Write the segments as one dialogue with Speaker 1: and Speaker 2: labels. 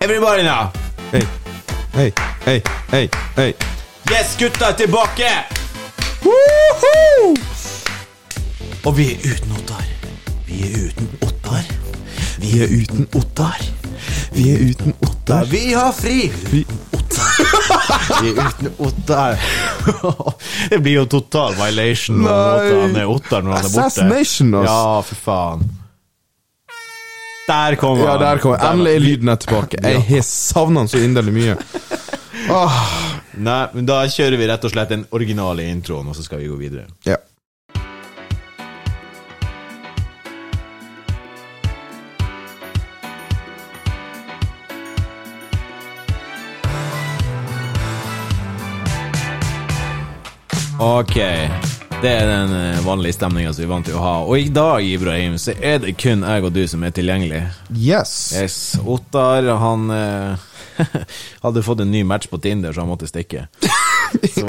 Speaker 1: Everybody now!
Speaker 2: Hei, hei, hei, hei, hei.
Speaker 1: Yes, gutta er tilbake! Og vi er uten Ottar. Vi er uten Ottar. Vi er uten Ottar.
Speaker 2: Vi er uten Ottar.
Speaker 1: Vi har fri!
Speaker 2: Vi,
Speaker 1: Vi er uten Ottar. det blir jo total violation av
Speaker 2: Nei.
Speaker 1: at han er Ottar når han er borte.
Speaker 2: Assassination, ass.
Speaker 1: Ja, for faen. Der kom han.
Speaker 2: ja, der kommer Endelig er lyden er tilbake. Jeg har savna den så inderlig mye.
Speaker 1: Nei, men da kjører vi rett og slett den originale introen, og så skal vi gå videre.
Speaker 2: Ja.
Speaker 1: Ok, det er den eh, vanlige stemninga som vi er vant til å ha. Og i dag, Ibrahim, så er det kun jeg og du som er tilgjengelig.
Speaker 2: Yes.
Speaker 1: Yes, Ottar, han eh, hadde fått en ny match på Tinder, så han måtte stikke. Så,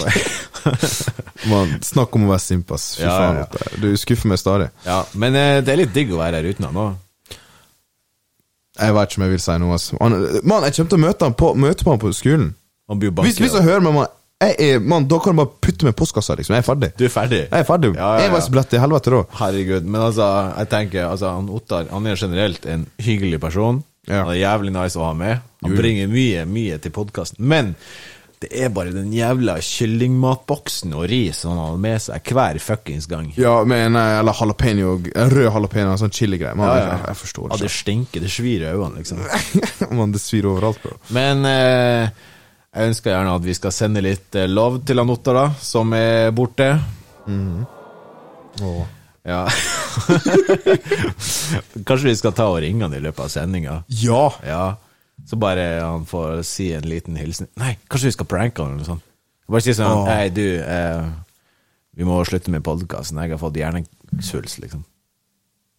Speaker 2: Man, snakk om å være simp, ass. Fy
Speaker 1: Ja,
Speaker 2: faen.
Speaker 1: ja, ja.
Speaker 2: Ottar. Du skuffer meg stadig.
Speaker 1: ja, men eh, det er litt digg å være her uten han òg.
Speaker 2: Jeg vet ikke om jeg vil si noe, ass. Han- Mann, jeg kommer til å møte han på, møte på han på skolen.
Speaker 1: Han blir jo
Speaker 2: Hvis, hvis
Speaker 1: banket.
Speaker 2: jeg hører meg, mann, jeg er- mann, da kan du bare putte meg i postkassa, liksom. Jeg er ferdig.
Speaker 1: Du er ferdig?
Speaker 2: Jeg er ferdig.
Speaker 1: Ja, ja,
Speaker 2: Jeg var
Speaker 1: ja.
Speaker 2: så blett i helvete da.
Speaker 1: Herregud. Men altså, jeg tenker altså, han Ottar han er generelt en hyggelig person.
Speaker 2: Ja.
Speaker 1: Han er jævlig nice å ha med. Han
Speaker 2: Jo.
Speaker 1: bringer mye, mye til podkasten. Men det er bare den jævla kyllingmatboksen og ris han har med seg hver fuckings gang.
Speaker 2: Ja, men eh, eller jalapeño En rød jalapeño, en sånn chili-greie. Man,
Speaker 1: Ja, ja.
Speaker 2: Jeg, jeg forstår
Speaker 1: Ja,
Speaker 2: det
Speaker 1: det stinker, det svir i øynene, liksom.
Speaker 2: ikke. Man, det svir overalt, bro.
Speaker 1: Men eh, jeg ønsker gjerne at vi skal sende litt eh, love til han Ottar, da, som er borte. Ja. Kanskje vi skal ta og ringe han i løpet av sendinga.
Speaker 2: Ja!
Speaker 1: Ja. Så bare han får si en liten hilsen. Nei, kanskje vi skal pranke han eller noe sånt. Bare si sånn
Speaker 2: Åh.
Speaker 1: Hei, du, eh, vi må slutte med podkasten. Jeg har fått hjernesvulst, liksom.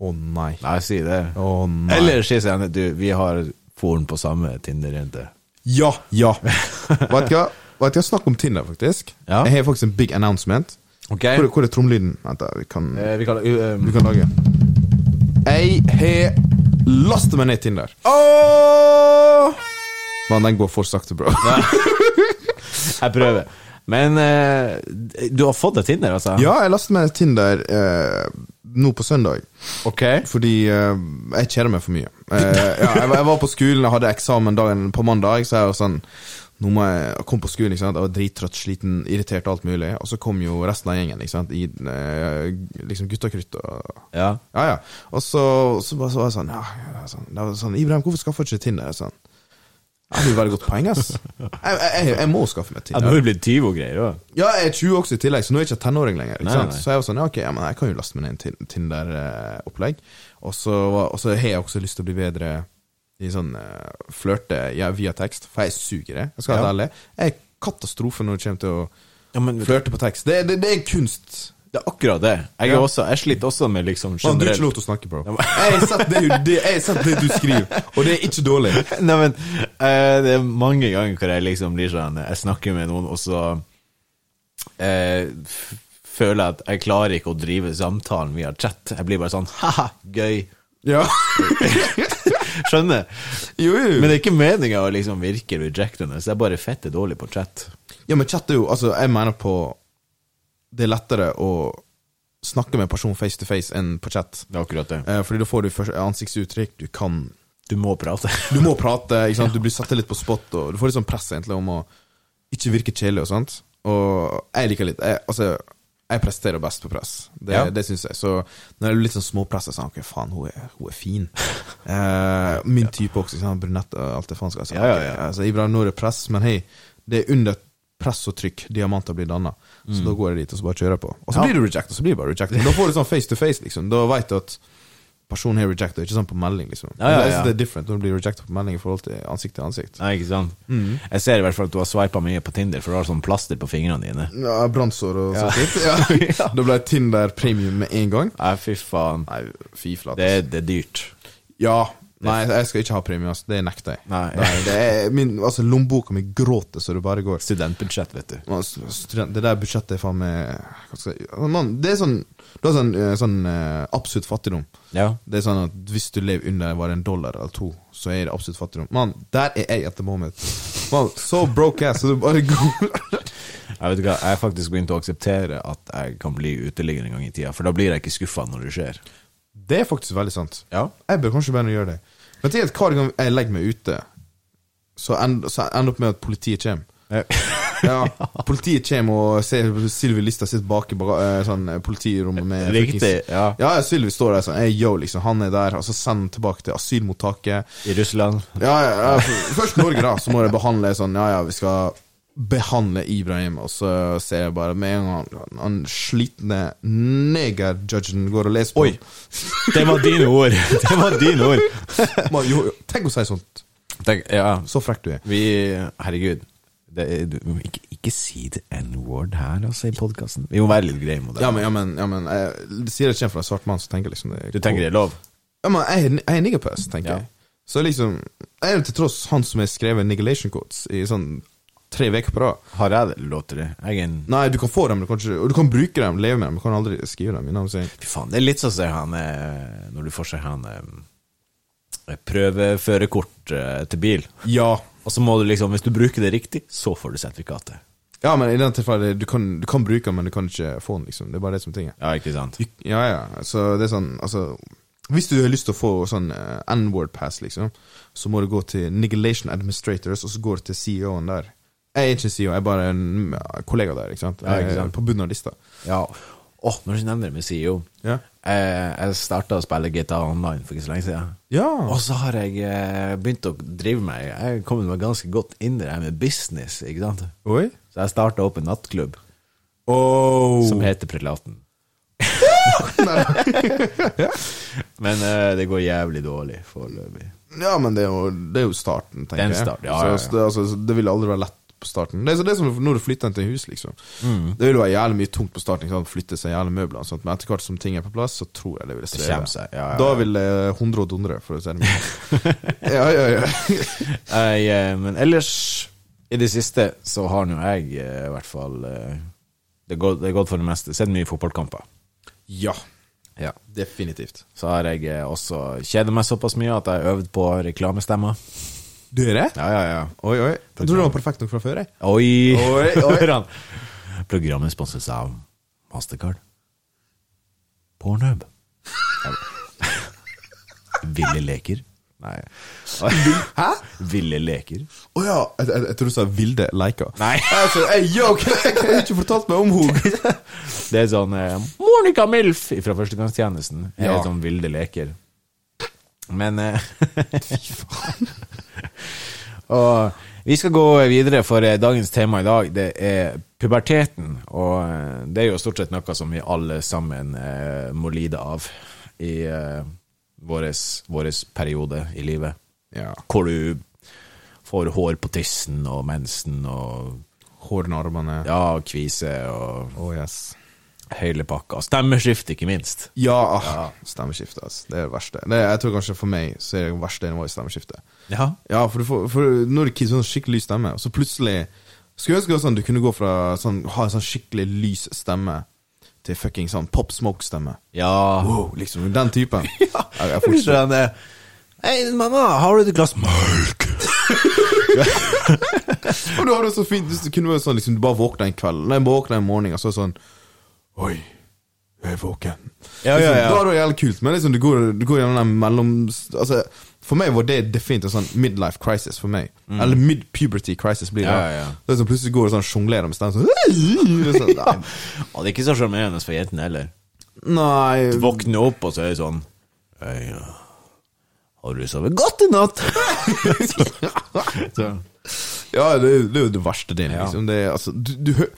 Speaker 2: Å nei.
Speaker 1: Nei, si det.
Speaker 2: Å nei.
Speaker 1: eller si sånn Du, vi har foren på samme Tinder-jente.
Speaker 2: Ja! Ja! Vet du hva? Vet du hva? Snakk om Tinder, faktisk.
Speaker 1: Ja.
Speaker 2: Jeg har faktisk en big announcement.
Speaker 1: Ok?
Speaker 2: Hvor, hvor er tromlyden? Vent, da. Vi kan,
Speaker 1: Eh, vi kan uh, um,
Speaker 2: vi kan lage Jeg har lastet meg ned Tinder. Men den går for sakte, bro.
Speaker 1: Jeg prøver. Men eh, du har fått deg Tinder, altså?
Speaker 2: Ja, jeg lastet meg ned Tinder eh, nå på søndag.
Speaker 1: Ok.
Speaker 2: Fordi eh, jeg kjeder meg for mye. Eh, ja, jeg, var- jeg var på skolen, jeg hadde eksamen dagen på mandag. Så jeg var sånn Nå må jeg jeg kom på skolen, ikke sant? jeg var drittrøtt, sliten, irritert og alt mulig. Og så kom jo resten av gjengen, ikke sant? i eh, liksom guttakrutt og
Speaker 1: Ja.
Speaker 2: ja, ja. Og så, så, bare, så var jeg sånn, ja, ja, sånn. Det var sånn Ibrahim, hvorfor skaffer du ikke Tinder? Jeg Sånn. Ja, Det er jo et veldig godt poeng, ass. Jeg, jeg, jeg, jeg må skaffe meg
Speaker 1: Ja,
Speaker 2: Tinder.
Speaker 1: Nå er du blitt 20 og greier òg.
Speaker 2: Ja, jeg er 20 også i tillegg, så nå er jeg ikke tenåring lenger. Ikke
Speaker 1: Nei,
Speaker 2: sant?
Speaker 1: nei.
Speaker 2: Så jeg var sånn, ja, ok, ja, men jeg kan jo laste meg ned en Tin- Tinder-opplegg. Og så var- og så har jeg også lyst til å bli bedre i sånn eh, flørte ja, via tekst, for jeg suger i det. Jeg skal være
Speaker 1: Ja.
Speaker 2: ærlig. Jeg er katastrofe når det kommer til å
Speaker 1: Ja, men
Speaker 2: flørte på tekst. Det, det, det er kunst.
Speaker 1: det er akkurat det. Jeg, er
Speaker 2: Ja.
Speaker 1: også, jeg sliter også med liksom
Speaker 2: Man, du er
Speaker 1: generelt
Speaker 2: ikke lov til å snakke, bro. Jeg har sett det, du- det, jeg har sett det du skriver, og det er ikke dårlig.
Speaker 1: Nei, men eh, det er mange ganger hvor jeg liksom blir sånn Jeg snakker med noen, og så eh, f- føler jeg at jeg klarer ikke å drive samtalen via chat. Jeg blir bare sånn ha-ha, gøy.
Speaker 2: Ja.
Speaker 1: Skjønner?
Speaker 2: Jo, jo, jo.
Speaker 1: Men det er ikke meninga å liksom virke rejectende, så jeg er bare fette dårlig på chat.
Speaker 2: Ja, men chat er jo Altså, jeg mener på Det er lettere å snakke med en person face to face enn på chat.
Speaker 1: Det er akkurat det.
Speaker 2: Eh, Fordi da får du først ansiktsuttrykk, du kan
Speaker 1: Du må prate.
Speaker 2: Du må prate, ikke sant? du blir satt litt på spot, og du får litt sånn press egentlig om å ikke virke kjedelig og sånt. Og jeg liker litt jeg, Altså, jeg presterer best på press, det,
Speaker 1: Ja.
Speaker 2: det syns jeg. Så når jeg blir litt sånn småpressa, sånn Ok, faen, hun er, hun er fin. Eh, min type også, ikke sant? brunett og alt det faen skal jeg si.
Speaker 1: Ja, ja, ja.
Speaker 2: Ok, Altså, Ibra, nå er det press, men hei, det er under press og trykk diamanter blir danna. Så da går jeg dit og så bare kjører jeg på. Og
Speaker 1: Mm.
Speaker 2: så
Speaker 1: Ja.
Speaker 2: blir du rejected, så blir du bare rejected. Da får du sånn face to face, liksom. Da veit du at personen har rejected, ikke sånn på melding, liksom.
Speaker 1: Ja, ja, ja.
Speaker 2: Jeg synes Det er different når du blir rejected på melding i forhold til ansikt til ansikt.
Speaker 1: Nei, ikke sant? Jeg ser i hvert fall at du har sveipa mye på Tinder, for du har sånn plaster på fingrene dine.
Speaker 2: Ja, Brannsår og sånt. Ja. Da ble jeg Tinder premium med en gang.
Speaker 1: Nei, fy faen.
Speaker 2: Nei, fy flate.
Speaker 1: Det, er- det er dyrt.
Speaker 2: Ja, Nei, jeg skal ikke ha premie, altså. Det nekter jeg.
Speaker 1: Nei.
Speaker 2: det er min, altså, lommeboka mi gråter så det bare går.
Speaker 1: Studentbudsjett, vet du.
Speaker 2: Man, s- Student, det der budsjettet er faen meg hva skal jeg- man, Det er sånn, det er sånn, eh, sånn eh, absolutt fattigdom.
Speaker 1: Ja.
Speaker 2: Det er sånn at Hvis du lever under bare en dollar eller to, så er det absolutt fattigdom. Mann, der er jeg at the moment. Man, så broke ass, så du bare går
Speaker 1: Jeg vet ikke hva, jeg har faktisk begynt å akseptere at jeg kan bli uteligger en gang i tida, for da blir jeg ikke skuffa når det skjer.
Speaker 2: Det er faktisk veldig sant.
Speaker 1: Ja.
Speaker 2: Jeg bør kanskje begynne å gjøre det. Men tenk at hver gang jeg legger meg ute, så end- så ender det opp med at politiet kommer. Ja, Politiet kommer og ser Sylvi Lista sitter bak i baga- eh, sånn, eh, politirommet med
Speaker 1: Riktig,
Speaker 2: fuckings-
Speaker 1: ja.
Speaker 2: ja Sylvi står der sånn hey, Yo, liksom, han er der, og så sender han tilbake til asylmottaket.
Speaker 1: I Russland.
Speaker 2: Ja, ja, ja. Først Norge, da. Så må de behandle sånn Ja, ja, vi skal behandle Ibrahim, og så ser jeg bare med en gang han, han slitne negerjudgen går og leser på
Speaker 1: Oi. Det var dine ord! Det var dine ord!
Speaker 2: Man, jo, jo, Tenk å si sånt.
Speaker 1: Tenk, ja,
Speaker 2: Så frekk du er.
Speaker 1: Vi Herregud. Det, er- du, må ikke, ikke si det n-word her, altså, i podkasten. Vi må være litt greie mot det.
Speaker 2: Ja, men, ja, men, ja, men jeg, det sier det kommer fra en svart mann, så tenker jeg liksom det
Speaker 1: Du tenker det er lov?
Speaker 2: Ja, men jeg, er- jeg er niggerpuss, tenker
Speaker 1: Ja.
Speaker 2: jeg. Så liksom Jeg er jo til tross han som har skrevet niggelation codes i sånn tre uker på rad.
Speaker 1: Har jeg det lov til det? Jeg er en
Speaker 2: Nei, du kan få dem, du kan ikke, og du kan bruke dem, leve med dem, men du kan aldri skrive dem. You know what I'm saying?
Speaker 1: Fy faen, det er litt sånn som han eh, Når du får seg han eh, prøveførerkort eh, til bil,
Speaker 2: Ja.
Speaker 1: og så må du liksom Hvis du bruker det riktig, så får du sertifikatet.
Speaker 2: Ja, men i den tilfellet, du kan, du kan bruke den, men du kan ikke få den, liksom. Det er bare det som er tinget.
Speaker 1: Ja, ikke sant?
Speaker 2: Ja, ja, så det er sånn, altså Hvis du har lyst til å få sånn eh, N-word pass, liksom, så må du gå til Nigilation Administrators, og så går du til CEO-en der. Jeg er ikke CEO, jeg er bare en ja, kollega der, ikke sant?
Speaker 1: Ja, ikke
Speaker 2: Jeg er
Speaker 1: sant.
Speaker 2: På bunnen av lista.
Speaker 1: Ja. Åh, når du nevner det med CEO
Speaker 2: Ja.
Speaker 1: eh, Jeg starta å spille GTA Online for ikke så lenge siden.
Speaker 2: Ja.
Speaker 1: Og så har jeg eh, begynt å drive meg Jeg er kommet meg ganske godt inn i det her med business. ikke sant?
Speaker 2: Oi.
Speaker 1: Så jeg starta opp en nattklubb
Speaker 2: Oh.
Speaker 1: som heter Prelaten. Men eh, det går jævlig dårlig foreløpig.
Speaker 2: Ja, men det er jo, det er jo starten, tenker
Speaker 1: Den
Speaker 2: jeg.
Speaker 1: starten, ja, ja, ja.
Speaker 2: Så, det, altså, så det vil aldri være lett på starten. Det er så det er som når du flytter inn til hus, liksom.
Speaker 1: Mm.
Speaker 2: Det vil være jævlig mye tungt på starten, ikke sant? flytte seg jævlig møbler, og sånt. men etter hvert som ting er på plass, så tror jeg det vil
Speaker 1: kommer
Speaker 2: streve.
Speaker 1: seg, ja, ja, ja.
Speaker 2: Da vil det hundre og dundre, for å si det mildt. ja, ja, ja.
Speaker 1: Jeg, eh, men ellers, i det siste, så har nå jeg eh, i hvert fall eh, Det er gått det er gått for det meste. Sett mye fotballkamper.
Speaker 2: ja,
Speaker 1: Ja.
Speaker 2: definitivt.
Speaker 1: Så har jeg eh, også kjeda meg såpass mye at jeg har øvd på reklamestemmer.
Speaker 2: Du er det?
Speaker 1: Ja, ja, ja.
Speaker 2: Oi, oi. Jeg tror du var perfekt nok fra før, jeg.
Speaker 1: Oi!
Speaker 2: Oi, oi.
Speaker 1: Hører han. Programmet sponses av Mastercard. Pornhub. Ville leker. Nei. Hæ? Ville leker.
Speaker 2: Å ja, jeg, jeg, jeg tror du sa Vilde Leika.
Speaker 1: Nei.
Speaker 2: Altså, jeg, yo, jeg har ikke fortalt meg om henne!
Speaker 1: Det er sånn eh, Monica Milf fra Førstegangstjenesten. Ja.
Speaker 2: Ja.
Speaker 1: Helt sånn Vilde leker. Men eh, Og vi skal gå videre, for eh, dagens tema i dag det er puberteten. Og eh, det er jo stort sett noe som vi alle sammen eh, må lide av i eh, våres, våres periode i livet.
Speaker 2: Ja.
Speaker 1: Hvor du får hår på tissen og mensen og
Speaker 2: Håren og armene. Å,
Speaker 1: ja, kvise og
Speaker 2: yes.
Speaker 1: hele pakka. Stemmeskift, ikke minst.
Speaker 2: Ja, stemmeskifte. ass. Det er det verste. Det, jeg tror kanskje for meg så er det verste nivået stemmeskifte.
Speaker 1: Ja.
Speaker 2: Ja, for, du får, for når du kids har sånn skikkelig lys stemme, og så plutselig Skulle ønske det var sånn du kunne gå fra sånn, ha en sånn skikkelig lys stemme til fucking sånn Pop Smoke-stemme.
Speaker 1: Ja.
Speaker 2: Wow, liksom den typen. Jeg, jeg
Speaker 1: Jeg
Speaker 2: forstår.
Speaker 1: forstår det. Hei, mamma, har du et glass melk?
Speaker 2: Og da var det så fint hvis det kunne vært sånn liksom, du bare våkna en kveld, nei, våkna en morgen, og så sånn Oi, jeg er våken.
Speaker 1: Ja, ja, ja.
Speaker 2: Liksom, da er det jo jævlig kult, men liksom, du går, du går gjennom den mellom Altså, for meg var det definitivt en sånn midlife crisis for meg. Eller mid-puberty crisis blir det.
Speaker 1: Mm. Ja, ja, ja.
Speaker 2: Det er sånn, plutselig går du sånn sjonglerer med stemmen sånn, det er sånn nei,
Speaker 1: Og det er ikke så sjarmerende for jentene heller.
Speaker 2: nei
Speaker 1: Våkne opp, og så er det sånn Hei, ja. Har du sovet godt i natt? så.
Speaker 2: Ja, det, er- det er jo det verste delen,
Speaker 1: Ja.
Speaker 2: liksom. Det, er, altså, du, du, hø-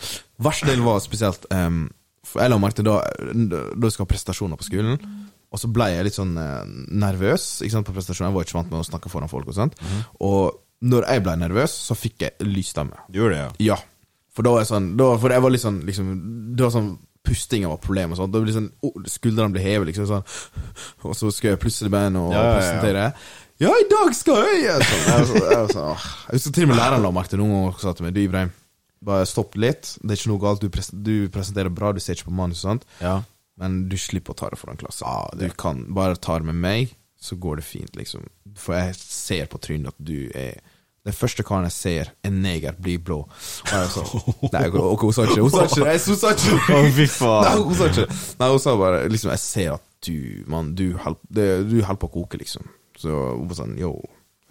Speaker 2: verste delen var spesielt ehm, for Jeg la merke til da Da jeg skal ha prestasjoner på skolen, og så ble jeg litt sånn eh, nervøs ikke sant, på prestasjoner. Jeg var ikke vant med å snakke foran folk. Og sånt Og når jeg ble nervøs, så fikk jeg lys stemme.
Speaker 1: Du gjør det, ja.
Speaker 2: Ja. For da var jeg sånn da, For jeg var litt sånn liksom, Det var sånn Pustinga var problemet. Sånn. Da ble det sånn, oh, skuldrene ble hevet, liksom. Sånn. Og så skal jeg plutselig begynne og
Speaker 1: Ja, ja, ja.
Speaker 2: presentere. Ja, i dag skal jeg! Jeg, sånn, jeg, var sånn, jeg, var sånn, åh. jeg husker til og med læreren la merke til noen ganger sa til meg Du, Ibrahim, bare stopp litt. Det er ikke noe galt. Du, pres du presenterer bra, du ser ikke på manuset, sant?
Speaker 1: Ja.
Speaker 2: Men du slipper å ta det foran klassen. Du kan bare ta det med meg, så går det fint, liksom. For jeg ser på trynet at du er den første karen jeg ser, en neger, blir blå. Og jeg så, nei, ok, hun sa ikke det. Hun sa ikke det. Hun sa ikke det.
Speaker 1: Å, fy faen.
Speaker 2: Nei, hun sa ikke det. Nei, hun sa bare liksom, Jeg ser at du, mann, du hel- det- du holder på å koke, liksom. Så hun var sånn Yo,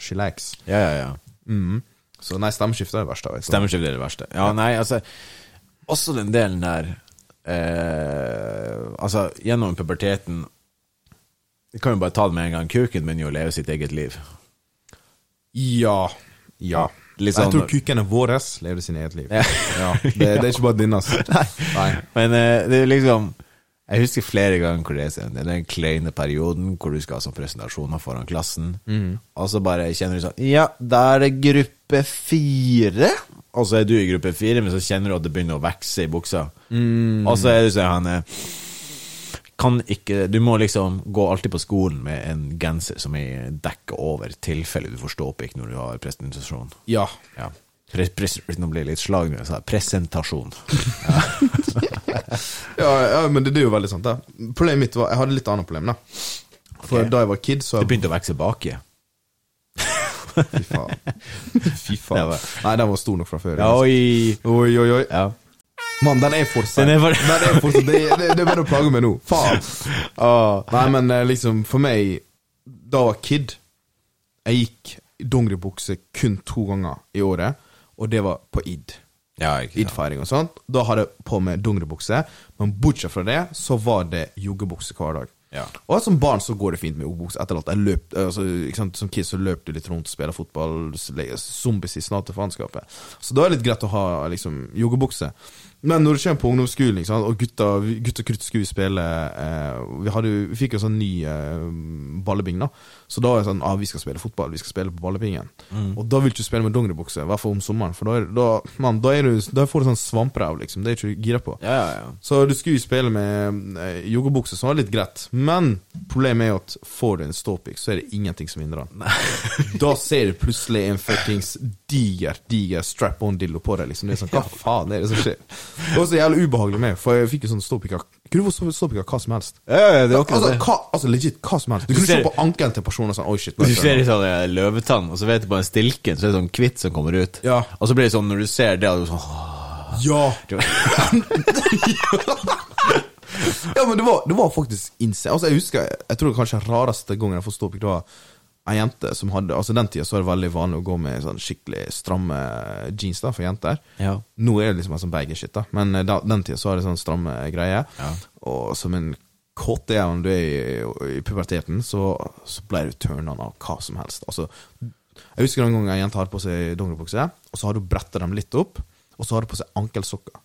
Speaker 2: chillax.
Speaker 1: Ja, ja, ja.
Speaker 2: Mhm. Så nei, stemmeskifte er det verste. Jeg, så.
Speaker 1: Stemmeskifte er det verste. Ja, nei, altså Også den delen der eh, Altså, gjennom puberteten Vi kan jo bare ta det med en gang. Kuken begynner jo å leve sitt eget liv.
Speaker 2: Ja. Ja.
Speaker 1: Litt
Speaker 2: jeg
Speaker 1: sånn-
Speaker 2: tror kukene våre lever sin eget liv.
Speaker 1: Ja.
Speaker 2: Ja, det, det er ikke bare din, altså. Nei.
Speaker 1: Men eh, det er liksom Jeg husker flere ganger hvor det er sånn, det er den kleine perioden hvor du skal ha sånn presentasjoner foran klassen, og så bare kjenner du sånn Ja, da er det gruppe fire. Og så er du i gruppe fire, men så kjenner du at det begynner å vokse i buksa. Og så er du sånn han eh, kan ikke Du må liksom gå alltid på skolen med en genser som er dekket over, tilfelle du får ståpikk når du har presentasjon.
Speaker 2: Ja.
Speaker 1: Ja. Pre pres nå blir jeg litt slag når jeg sa presentasjon.
Speaker 2: Ja, ja, men det, det er jo veldig sant. Da. Problemet mitt var Jeg hadde litt annet problem, da. For
Speaker 1: Ok.
Speaker 2: da jeg var kid, så
Speaker 1: Det begynte å vokse baki.
Speaker 2: Fy faen. Fy
Speaker 1: Det
Speaker 2: faen.
Speaker 1: var-
Speaker 2: Nei, den var stor nok fra før.
Speaker 1: Ja, oi.
Speaker 2: Oi, oi, oi.
Speaker 1: Ja.
Speaker 2: Mann, den er for sein.
Speaker 1: Den er for-
Speaker 2: Den er for sein. Det, det, det er bare å plage meg nå. Faen.
Speaker 1: Ah.
Speaker 2: Nei, men eh, liksom, for meg Da jeg var kid, jeg gikk i dongeribukse kun to ganger i året, og det var på id.
Speaker 1: Ja, ikke sant.
Speaker 2: Id-feiring og sånt. Da hadde jeg på meg dongeribukse, men bortsett fra det, så var det joggebukse hver dag.
Speaker 1: Ja.
Speaker 2: Og som barn så går det fint med joggebukse. Etter alt jeg løp, altså, ikke sant? Som kid så løp du litt rundt, spiller fotball, le- zombies i snart til faenskapet. Så da er det litt greit å ha liksom, joggebukse. Men når du kommer på ungdomsskolen, ikke sant? og gutta, gutta krutt skulle spille eh, vi, hadde, jo- vi fikk jo sånn ny eh, ballebing, da. Så da var det sånn ah, vi skal spille fotball, vi skal spille på ballebingen. Og da vil du ikke spille med dongeribukse, i hvert fall om sommeren. For da, er, da, man, da, er du, da får du sånn svamperæv, liksom. Det er ikke du gira på.
Speaker 1: Ja, ja, ja.
Speaker 2: Så du skulle jo spille med eh, joggebukse, som var litt greit. Men problemet er jo at får du en ståpikk, så er det ingenting som hindrer den. da ser du plutselig en fuckings diger, diger strap-on-dildo på deg. Liksom. Det er sånn, Hva faen er det som skjer? Det var så jævlig ubehagelig med, for jeg fikk jo sånn ståpikk av Kunne du få ståpikk av hva som helst?
Speaker 1: det er akkurat
Speaker 2: Altså,
Speaker 1: det.
Speaker 2: hva, altså legit, hva som helst. Du
Speaker 1: Du
Speaker 2: kunne se
Speaker 1: ser-
Speaker 2: på ankelen til personen og sånn Oi, shit. nå er
Speaker 1: Du
Speaker 2: jeg
Speaker 1: ser
Speaker 2: strømmen».
Speaker 1: litt sånn eh, løvetann, og så vet du på en stilken, så er det sånn kvitt som kommer ut.
Speaker 2: Ja.
Speaker 1: Og så blir det sånn, når du ser det, er du sånn åh.
Speaker 2: Ja! ja, men det var, det var faktisk insane. Altså, jeg husker, jeg tror kanskje rareste gangen jeg får ståpikk, det var ei jente som hadde Altså, den tida så var det veldig vanlig å gå med sånn skikkelig stramme jeans da, for jenter.
Speaker 1: Ja.
Speaker 2: Nå er det liksom en sånn baggy-shit, da, men eh, da, den tida så var det sånn stramme greier.
Speaker 1: Ja.
Speaker 2: Og som en kåt jævel du er i, i puberteten, så, så ble du turna av hva som helst. Altså, jeg husker en gang ei jente hadde på seg dongeribukse, og så hadde hun bretta dem litt opp, og så hadde hun på seg ankelsokker.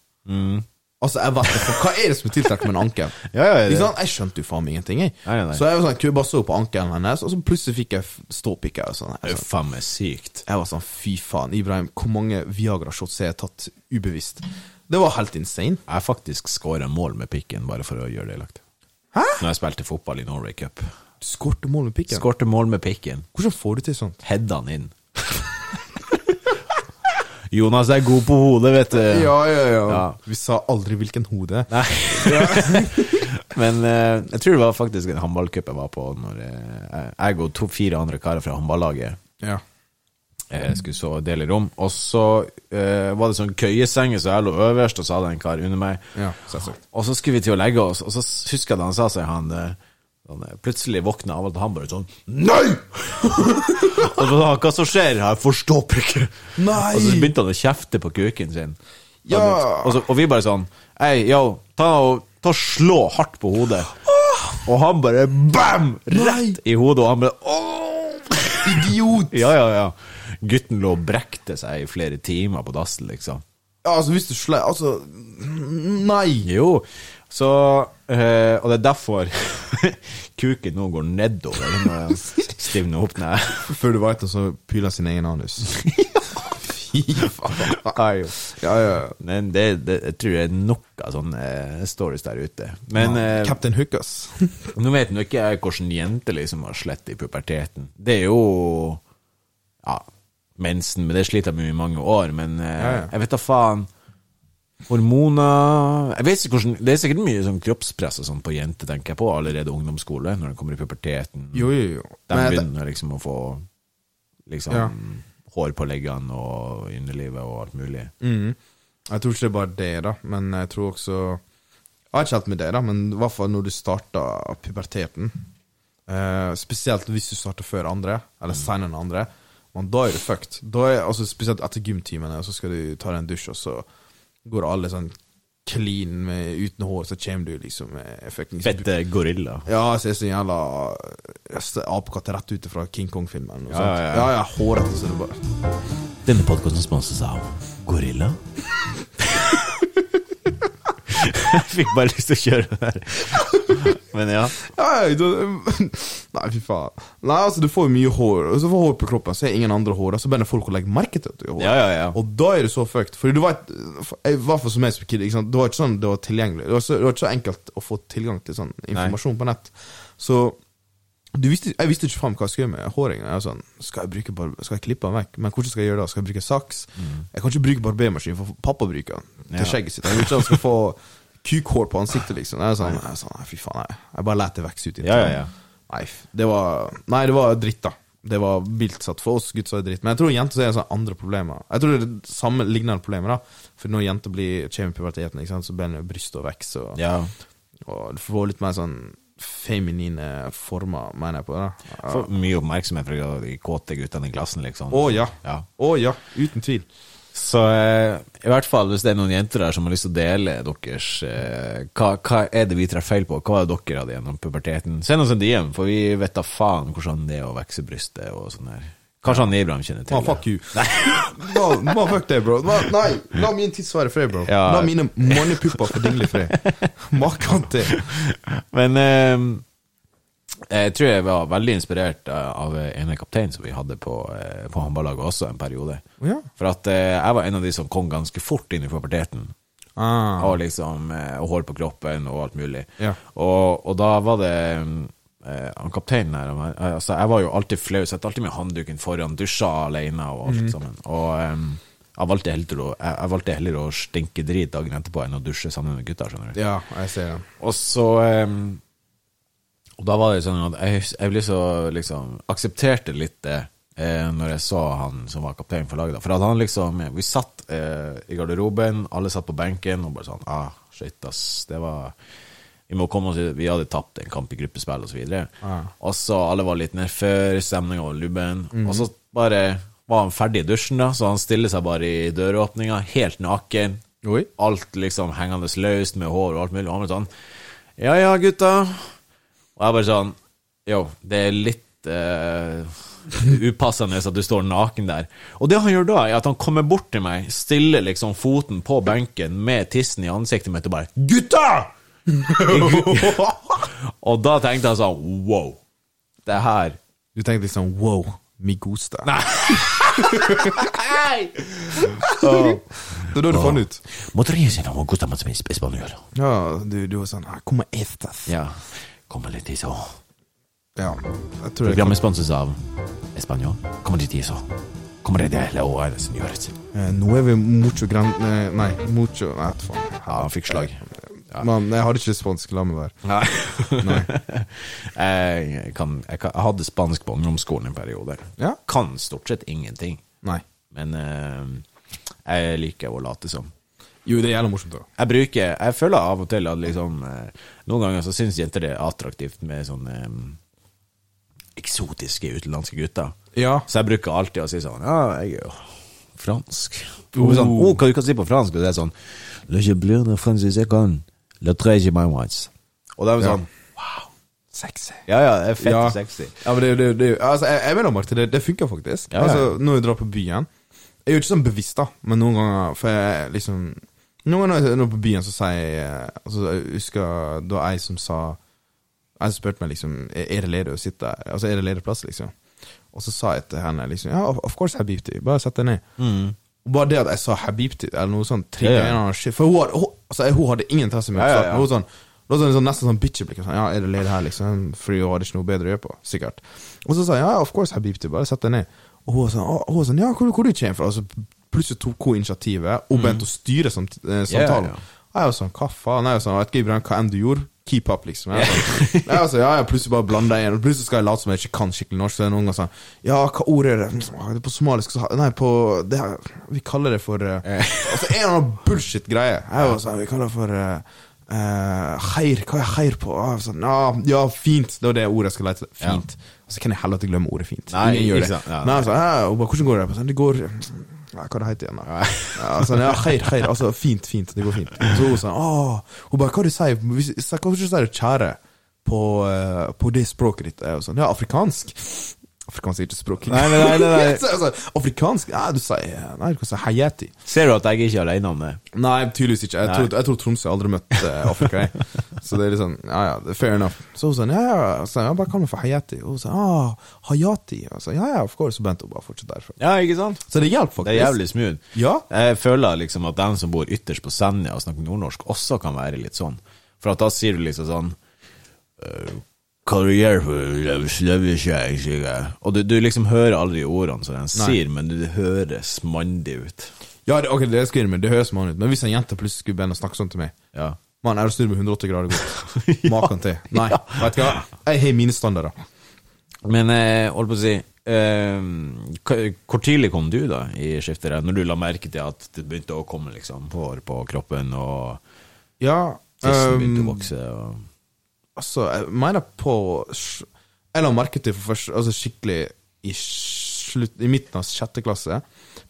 Speaker 2: Altså, jeg vet ikke, Hva er det som er tiltrekkende med en ankel?
Speaker 1: Mm. Ja, ja, ja.
Speaker 2: Ikke sant? Jeg skjønte jo faen meg ingenting. Jeg.
Speaker 1: Nei, nei, nei.
Speaker 2: Så jeg var sånn, jeg bare så på ankelen hennes, og så plutselig fikk jeg f- ståpikk. Jeg, var sånn, jeg,
Speaker 1: Det er
Speaker 2: sånn.
Speaker 1: faen meg sykt.
Speaker 2: jeg var sånn, fy faen, Ibrahim, hvor mange Viagra-shots har jeg tatt ubevisst? Det var helt insane.
Speaker 1: Jeg har faktisk skåra mål med pikken, bare for å gjøre det lagt.
Speaker 2: Hæ?
Speaker 1: Når jeg spilte fotball i Norway Cup.
Speaker 2: Du skårte mål med pikken.
Speaker 1: Skårte mål med pikken.
Speaker 2: Hvordan får du til sånt?
Speaker 1: Hedda han inn. Jonas er god på hodet, vet du.
Speaker 2: Ja, ja, ja,
Speaker 1: Ja.
Speaker 2: Vi sa aldri hvilken hode.
Speaker 1: Nei. Men eh, jeg tror det var faktisk en håndballcup jeg var på når eh, jeg og to, fire andre karer fra håndballaget
Speaker 2: Ja.
Speaker 1: eh, skulle så dele rom. Og så eh, var det sånn køyesenge, så jeg lå øverst, og så hadde jeg en kar under meg.
Speaker 2: Ja, selvsagt.
Speaker 1: og så skulle vi til å legge oss, og så husker jeg da han sa seg han, eh, han eh, plutselig våkna av at han bare sånn Nei! og så sa han hva som skjer? Jeg forstår ikke.
Speaker 2: Nei!
Speaker 1: Og så begynte han å kjefte på kuken sin.
Speaker 2: Ja.
Speaker 1: Og, så, og vi bare sånn Hei, yo, ta og ta og slå hardt på hodet. Og han bare bam! Rett i hodet, og han bare åh!
Speaker 2: Idiot!
Speaker 1: Ja, ja, ja. Gutten lå og brekte seg i flere timer på dassen, liksom.
Speaker 2: Ja, altså, hvis du slei Altså, nei!
Speaker 1: Jo, så eh, Og det er derfor kuken nå går nedover når jeg stivner opp. Nei.
Speaker 2: Før du veit det, så pyler sin egen anus. Fy faen. Ja, ja.
Speaker 1: Men det, det, jeg tror det er nok av sånne eh, stories der ute. Men eh,
Speaker 2: Captain Hook, ass.
Speaker 1: Nå vet nå ikke jeg hvordan jenter liksom har slett i puberteten. Det er jo Ja, mensen, men det sliter jeg med i mange år. Men eh,
Speaker 2: Ja, ja.
Speaker 1: jeg vet da faen. Hormoner Jeg vet ikke hvordan Det er sikkert mye sånn kroppspress og sånn på jenter, tenker jeg på, allerede ungdomsskole, når de kommer i puberteten.
Speaker 2: Jo, jo, jo.
Speaker 1: De
Speaker 2: Men jeg-
Speaker 1: begynner liksom å få liksom
Speaker 2: Ja.
Speaker 1: hår på leggene og underlivet og alt mulig.
Speaker 2: Mm. Jeg tror ikke det er bare det, da, men jeg tror også Jeg har ikke helt med det, da, men i hvert fall når du starter puberteten. Eh, spesielt hvis du starter før andre, eller
Speaker 1: Mm.
Speaker 2: senere enn andre. Men da er du fucked. Da er, altså, spesielt etter gymtimene, så skal du ta deg en dusj, og så går alle sånn clean med, uten hår, så kommer du liksom med fuckings
Speaker 1: Fette gorilla.
Speaker 2: ja, ser sånn jævla apekatt rett ut fra King Kong-filmen.
Speaker 1: Ja, ja, ja.
Speaker 2: ja, ja, hårete som det bare
Speaker 1: Denne podkasten sponses av Gorilla. jeg fikk bare lyst til å kjøre det der. Men ja.
Speaker 2: Ja, ja, da- Nei, fy faen. Nei, altså Du får jo mye hår, og så får du hår på kroppen, så er ingen andre hår, og så begynner folk å legge merke til at du har hår.
Speaker 1: Ja, ja, ja.
Speaker 2: Og da er du så fucked. Fordi du vet, I hvert fall som jeg som kid, ikke sant? det var ikke sånn det var tilgjengelig. Det var, så, det var ikke så enkelt å få tilgang til sånn informasjon på nett. Så du visste, jeg visste ikke faen hva jeg skulle gjøre med håringen. Jeg var sånn, skal jeg, bruke bar skal jeg klippe den vekk? Men hvordan skal jeg gjøre det? Skal jeg bruke saks? Jeg kan ikke bruke barbermaskin, for pappa bruker den til
Speaker 1: Mm. Ja.
Speaker 2: skjegget sitt. Jeg vil ikke at han skal få kukhår på ansiktet, liksom. Jeg er sånn, jeg er sånn nei, fy faen, nei. jeg bare lar det vokse ut. i
Speaker 1: Ja, ja, ja.
Speaker 2: Nei, f- det var, nei, det var dritt, da. Det var vilt satt for oss gutter, så er det dritt. Men jeg tror jenter så er det sånne andre problemer. Jeg tror det er det samme lignende problemer, da. For når jenter blir kommer i puberteten, ikke sant, så begynner brystet å vokse, og,
Speaker 1: ja.
Speaker 2: og du får litt mer sånn feminine former, mener jeg på det. da.
Speaker 1: Får mye oppmerksomhet fra de kåte guttene i klassen, liksom.
Speaker 2: Å ja.
Speaker 1: Ja.
Speaker 2: Å ja, uten tvil.
Speaker 1: Så eh, i hvert fall, hvis det er noen jenter der som har lyst til å dele deres eh, hva, hva er det vi treffer feil på? Hva er det dere hadde gjennom puberteten? Send oss en DM, for vi vet da faen hvordan det er å vokse brystet og sånn her. Kanskje han Ibrahim kjenner til
Speaker 2: Man,
Speaker 1: det.
Speaker 2: fuck you. Man, man, fuck det, bro. Man, nei, la min tiss være fred, bro.
Speaker 1: Ja.
Speaker 2: La mine mannepupper få dingle i fred. Makan til.
Speaker 1: Men eh, jeg tror jeg var veldig inspirert eh, av ene kaptein som vi hadde på, eh, på håndballaget også en periode.
Speaker 2: Ja.
Speaker 1: For at eh, jeg var en av de som kom ganske fort inn i puberteten.
Speaker 2: Ah.
Speaker 1: Og liksom eh, og hår på kroppen og alt mulig.
Speaker 2: Ja.
Speaker 1: Og, og da var det eh, han kapteinen her han var- eh, altså, Jeg var jo alltid flau, så jeg tok alltid med handduken foran, dusja alene og alt sammen. Og eh, jeg valgte, heller å, jeg, jeg valgte heller å stinke drit dagen etterpå enn å dusje sammen med gutta. skjønner du
Speaker 2: Ja, jeg ser den.
Speaker 1: og så ehm, Og da var det sånn at jeg, hus- jeg ble så liksom aksepterte litt det eh, når jeg så han som var kaptein for laget. da. For at han liksom Vi satt eh, i garderoben, alle satt på benken og bare sånn Ah, shit, ass. Det var vi må komme oss ut, vi hadde tapt en kamp i gruppespill osv. videre
Speaker 2: Ah.
Speaker 1: Og så alle var litt nedfor, stemninga var lubben. Og så bare var han ferdig i dusjen, da, så han stiller seg bare i døråpninga, helt naken.
Speaker 2: Oi.
Speaker 1: Alt liksom hengende løst med hår og alt mulig. Og han var sånn Ja ja, gutta. Og jeg bare sånn Yo, det er litt eh, upassende at du står naken der. Og det han gjør da, er at han kommer bort til meg, stiller liksom foten på benken med tissen i ansiktet mitt og bare Gutta! og da tenkte jeg sånn Wow. Det her
Speaker 2: Du tenkte liksom wow, mi gusta. Det er da du fant ut. Ja, du, du var sånn ah, Como estas?
Speaker 1: Ja. Kommer litt i så
Speaker 2: Ja, jeg tror det.
Speaker 1: Programmet sponses av Español. Kommer dit så kommer det det hele året som gjøres.
Speaker 2: Eh, Nå er vi mucho gran... eh, Nei, mucho Nei, vet faen.
Speaker 1: Ja, han fikk slag.
Speaker 2: Men jeg hadde ikke spansk, la meg være.
Speaker 1: Nei. jeg, kan, jeg, kan, jeg hadde spansk på ungdomsskolen en periode.
Speaker 2: Ja?
Speaker 1: Kan stort sett ingenting.
Speaker 2: Nei.
Speaker 1: Men eh, jeg liker å late som.
Speaker 2: Jo, det er jævla morsomt, da.
Speaker 1: Jeg bruker Jeg føler av og til at liksom eh, Noen ganger så syns jenter det er attraktivt med sånne eh, eksotiske utenlandske gutter.
Speaker 2: Ja.
Speaker 1: Så jeg bruker alltid å si sånn Ja, jeg er jo fransk. Og hun er sånn, oh, hva du kan si på fransk? Og det er sånn Le je bleu de francis jeg kan Le treje my whites. Og det er jo sånn
Speaker 2: Sexy.
Speaker 1: Ja ja, det er fett og sexy.
Speaker 2: Ja, men det, det, det, altså, jeg, jeg mener, Martin, det, det funker faktisk.
Speaker 1: Ja, ja.
Speaker 2: Altså, når jeg drar på byen Jeg er jo ikke sånn bevisst, da, men noen ganger For jeg liksom Noen ganger når jeg når jeg er på byen, så sier jeg eh, altså, Jeg husker da ei som sa Jeg som spurte meg liksom Er er det ledig å sitte her? Altså,
Speaker 1: Mm.
Speaker 2: er det ledig plass, liksom? Og så sa jeg til henne liksom Ja, of- of course I have beauty. Bare sett deg ned. Og Bare det at jeg sa habibti eller noe sånt tre
Speaker 1: Ja, ja.
Speaker 2: ganger shit, For hun hadde, hun, altså, jeg- hun hadde ingen interesse med
Speaker 1: Ja, ja,
Speaker 2: ja,
Speaker 1: ja.
Speaker 2: Hun sånn, da sånn, sånn, nesten sånn bitcheblikk. Sånn, ja, er det ledig her, liksom? Fordi hun hadde ikke noe bedre å gjøre på, sikkert. Og så sa jeg ja, of course, habibti, bare sett deg ned. Og hun var sånn, «Å», hun var sånn ja, hvor, hvor du kommer fra? Og så plutselig tok hun initiativet og begynte å styre samt, eh,
Speaker 1: Mm. Ja, ja,
Speaker 2: samtalen.
Speaker 1: ja.
Speaker 2: Og jeg var sånn, hva faen? Jeg var sånn, jeg vet ikke Ibrahim, hva enn du gjorde, keep up, liksom. Jeg var sånn, jeg var sånn, ja, jeg plutselig bare blander deg inn, og plutselig skal jeg late som jeg ikke kan skikkelig norsk, så er det noen ganger sånn, ja, hva ord er det? «Åh, Det er på somalisk, så, nei, på, det her, vi kaller det for, eh», altså en eller annen bullshit-greie. Jeg var sånn, vi kaller det for, eh, eh, «Khair», hva er heir på? Ah, sånn, «Ja, ja, fint, det var det ordet jeg skal lete etter. Fint. Altså, kan jeg heller ikke glemme ordet fint?
Speaker 1: Nei,
Speaker 2: Ingen gjør
Speaker 1: ikke
Speaker 2: det.
Speaker 1: sant, ja.
Speaker 2: Nei, altså, «Hæ?» hun bare, hvordan går det? Jeg bare, Sånn, det går ja, Hva det heter det igjen, da? Ja, sånn, ja, khair, khair. Altså, fint, fint. Det går fint. Så hun sånn, åh, hun bare, hva du sier hvis, sa- Hva du sier du kjære på, eh, på det språket ditt? Jeg var sånn, ja, afrikansk. Afrikansk er ikke språk.
Speaker 1: Nei, nei, nei, nei, nei.
Speaker 2: Så jeg sånn, afrikansk? Ja, du sier Nei, du kan si hayati.
Speaker 1: Ser du at jeg ikke er alene om det?
Speaker 2: Nei, tydeligvis ikke. Jeg
Speaker 1: Nei.
Speaker 2: tror, jeg tror Tromsø har aldri møtt eh, Afrika. Jeg. Så det er litt sånn, ja ja, det er fair enough. Så hun sånn, ja ja, så jeg bare kaller meg for Hayati. Og hun sånn, ah, Hayati. Og så, ja ja, of course. Så begynte hun bare å fortsette derfra.
Speaker 1: Ja, ikke sant?
Speaker 2: Så det hjalp faktisk.
Speaker 1: Det er jævlig smooth.
Speaker 2: Ja.
Speaker 1: Jeg føler liksom at de som bor ytterst på Senja og snakker nordnorsk, også kan være litt sånn. For at da sier du liksom sånn eh, Hva du gjør for jeg sløver ikke, jeg sier. Og du, du liksom hører aldri ordene som de sier, men du høres mandig ut.
Speaker 2: Ja, det, ok, det skal jeg innrømme, det høres mann ut. Men hvis en jente plutselig skulle begynne å snakke sånn til meg
Speaker 1: Ja.
Speaker 2: Mann, jeg har snudd med 180 grader godt. Maken til. Nei,
Speaker 1: Ja.
Speaker 2: vet du hva? Jeg har mine standarder.
Speaker 1: Men eh, holdt på å si eh, hva- Hvor tidlig kom du da i skiftet? der? Når du la merke til at det begynte å komme liksom hår på kroppen, og
Speaker 2: Ja,
Speaker 1: tissen begynte å
Speaker 2: ehm,
Speaker 1: vokse? Og...
Speaker 2: altså, jeg mener på sj- Jeg la merke til for først, altså skikkelig i, slutt, i midten av sjette klasse.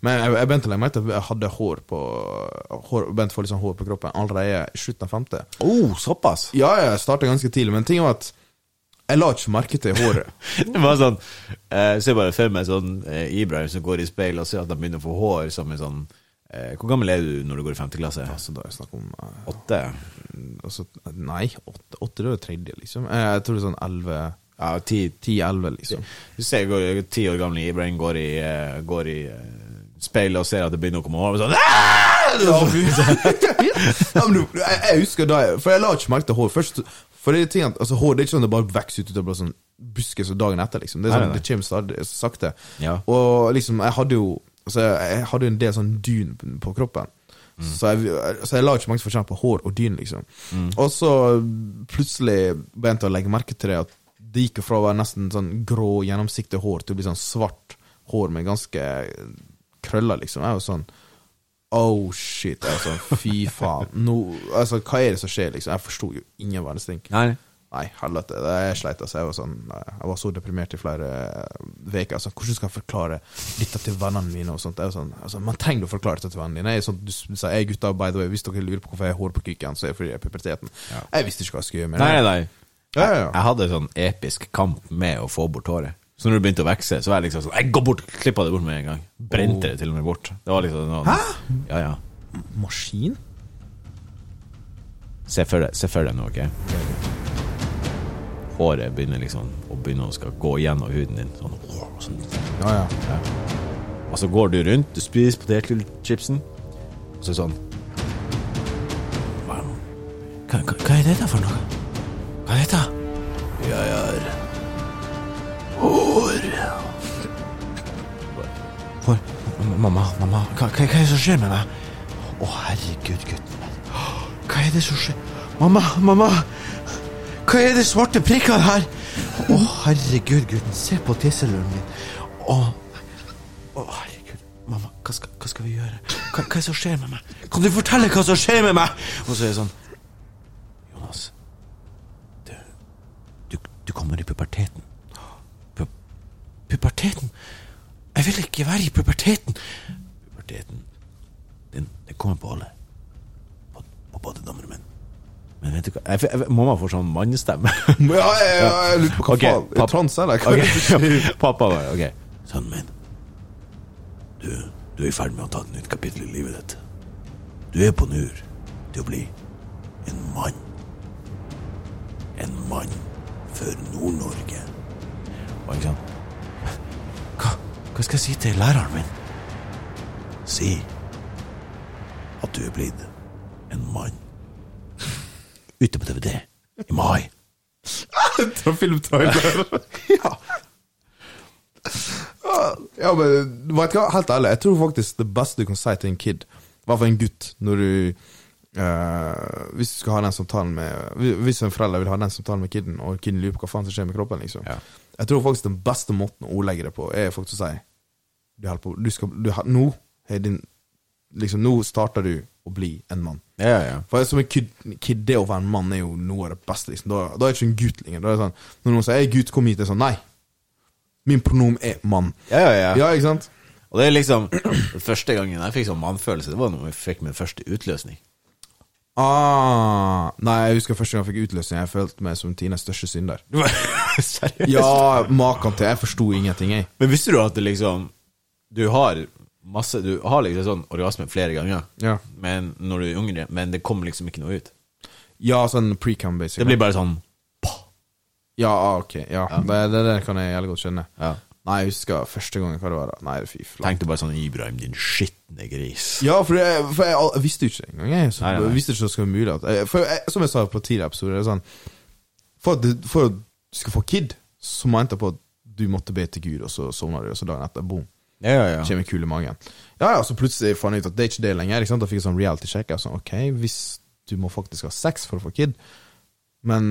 Speaker 2: Men jeg, jeg begynte å legge merke til at jeg hadde hår på hår, begynte å få litt sånn hår på kroppen allerede i slutten av femte.
Speaker 1: Oh, såpass!
Speaker 2: Ja, ja, jeg starta ganske tidlig, men ting var at jeg la ikke merke til håret.
Speaker 1: Det var sånn eh, Ser bare for meg sånn eh, Ibrahim som går i speil og ser at han begynner å få hår som en sånn eh, Hvor gammel er du når du går i 5. klasse?
Speaker 2: Så da er det snakk om eh,
Speaker 1: Åtte?
Speaker 2: altså, Nei, åtte, åtte det er jo tredje, liksom. Eh, Jeg tror det er sånn elleve
Speaker 1: Ja, ti.
Speaker 2: Ti-elleve, liksom.
Speaker 1: Du ser går, ti år gamle Ibrahim går i, eh, går i eh, speilet og ser at det begynner å komme hår. og Sånn, «Ah!»
Speaker 2: Ja, men du, jeg, jeg husker da jeg- For jeg la ikke merke til hår først. For det er ting at, altså, hår det er ikke sånn det bare vokser ut og blir sånn buskes og dagen etter, liksom. Det, er
Speaker 1: Nei,
Speaker 2: sånn,
Speaker 1: nei,
Speaker 2: det kommer stadig sakte.
Speaker 1: Ja.
Speaker 2: Og liksom, jeg hadde jo altså, Jeg hadde jo en del sånn dyn på- på kroppen.
Speaker 1: Mm.
Speaker 2: Så, jeg, så jeg la ikke merke til forskjell på hår og dyn, liksom. Og så plutselig begynte jeg å legge merke til det at det gikk jo fra å være nesten sånn grå, gjennomsiktig hår til å bli sånn svart hår med ganske krøller, liksom. Jeg var sånn Oh shit, altså, fy faen. Nå, altså, hva er det som skjer, liksom? Jeg forsto jo ingen verdens ting.
Speaker 1: Nei.
Speaker 2: Nei, helvete. det- Jeg sleit, altså. Jeg var, sånn, nei, jeg var så deprimert i flere uker. Altså, hvordan skal jeg forklare dette til vennene mine? og sånt? Jeg var sånn, altså, man trenger å forklare dette til vennene dine. Jeg, er sånn, du sa, jeg gutta, by the way, hvis dere lurer på hvorfor jeg har hår på kuken, så er det fordi jeg er i puberteten. Jeg visste ikke hva jeg skulle gjøre med det.
Speaker 1: Nei, nei.
Speaker 2: Ja, ja, ja.
Speaker 1: Jeg hadde en sånn episk kamp med å få bort håret. Så når det begynte å vokse, så var jeg liksom sånn Jeg går bort! Klippa det bort med en gang. Brente det til og med bort. Det var liksom sånn Ja, ja.
Speaker 2: Maskin?
Speaker 1: Se for deg, se for deg nå, ok? Håret begynner liksom å begynne å skal gå gjennom huden din. Sånn, åh, sånn.
Speaker 2: Ja, ja.
Speaker 1: Og så går du rundt, du spiser potetgullchipsen, og så sånn Hva, hva, hva er dette for noe? Hva er dette? Jeg har hår. Hår Mamma, mamma, hva, hva hva er det som skjer med meg? Å, herregud, gutten min. Hva er det som skjer? Mamma, mamma! Hva er det svarte prikkene her? Å, herregud, gutten, se på tisseluren min. Å, å, herregud. Mamma, hva skal, hva skal vi gjøre? Hva, hva er det som skjer med meg? Kan du fortelle hva som skjer med meg? Og så er det sånn Jonas, du, du, du kommer i puberteten. Pu puberteten? Jeg vil ikke være i puberteten. Puberteten, den, den kommer på alle. På, på både damer og menn. Men vet du hva? Jeg, f- jeg, f- mamma får sånn mannestemme.
Speaker 2: ja, ja, ja jeg lurte på hva
Speaker 1: Ok,
Speaker 2: faen. Er
Speaker 1: papp-
Speaker 2: det trans, eller? Hva er det som skjer?
Speaker 1: Ok, Pappa var ok. Sønnen min, du, du er i ferd med å ta et nytt kapittel i livet ditt. Du er på nur til å bli en mann. En mann for Nord-Norge. Og ikke sant? Hva, hva skal jeg si til læreren min?
Speaker 3: Si at du er blitt en mann. Ute på DVD i mai.
Speaker 2: Fra filmtrailer. ja. ja, men vet du hva, helt ærlig, jeg tror faktisk det beste du kan si til en kid, i hvert fall en gutt, når du eh, Hvis du skal ha den samtalen med Hvis en forelder vil ha den samtalen med kiden, og kiden lurer på hva faen som skjer med kroppen, liksom
Speaker 1: Ja.
Speaker 2: Jeg tror faktisk den beste måten å ordlegge det på, er faktisk å si Du holder på du skal, du, har- Nå er din Liksom, nå starter du å bli en mann.
Speaker 1: Ja, ja.
Speaker 2: For som en kid, kid, det å være en mann er jo noe av det beste. Liksom. Da, da er det ikke en gutt lenger. Da er det sånn, når noen sier 'jeg er gutt, kom hit', det er sånn Nei. Min pronom er mann.
Speaker 1: Ja, ja, ja.
Speaker 2: Ja, ikke sant?
Speaker 1: Og det er liksom Første gangen jeg fikk sånn mannfølelse, det var når jeg fikk min første utløsning.
Speaker 2: Ah, nei, jeg husker første gang jeg fikk utløsning. Jeg følte meg som Tinas største synder.
Speaker 1: Seriøst?
Speaker 2: Ja, maken til. Jeg forsto ingenting, jeg.
Speaker 1: Men visste du at det liksom Du har masse Du har liksom sånn orgasme flere ganger
Speaker 2: Ja.
Speaker 1: Men når du er yngre, men det kommer liksom ikke noe ut.
Speaker 2: Ja, sånn pre-cum, basic.
Speaker 1: Det blir bare sånn
Speaker 2: Ja, ah, ok. Ja, Det, det, det kan jeg jævlig godt skjønne.
Speaker 1: Ja.
Speaker 2: Nei, jeg husker første gangen hva det var. da Nei, fy flate.
Speaker 1: Tenkte bare sånn Ibrahim, din skitne gris.
Speaker 2: Ja, for jeg, for jeg, al- visste jo ikke det engang. Jeg, så,
Speaker 1: Nei, nei, nei.
Speaker 2: jeg visste ikke det skulle være mulig. At, jeg- for jeg, som jeg sa på tidligere episoder, det er sånn, for at du, for at du skal få kid, så må jeg på at du måtte be til Gud, og så sovna du, og så dagen etter, boom,
Speaker 1: Ja, ja, ja.
Speaker 2: kommer kul i magen. Ja, ja, så plutselig fant jeg ut at det er ikke det lenger. Ikke sant? Da fikk jeg sånn reality check. Jeg var sånn, ok, hvis du må faktisk ha sex for å få kid, men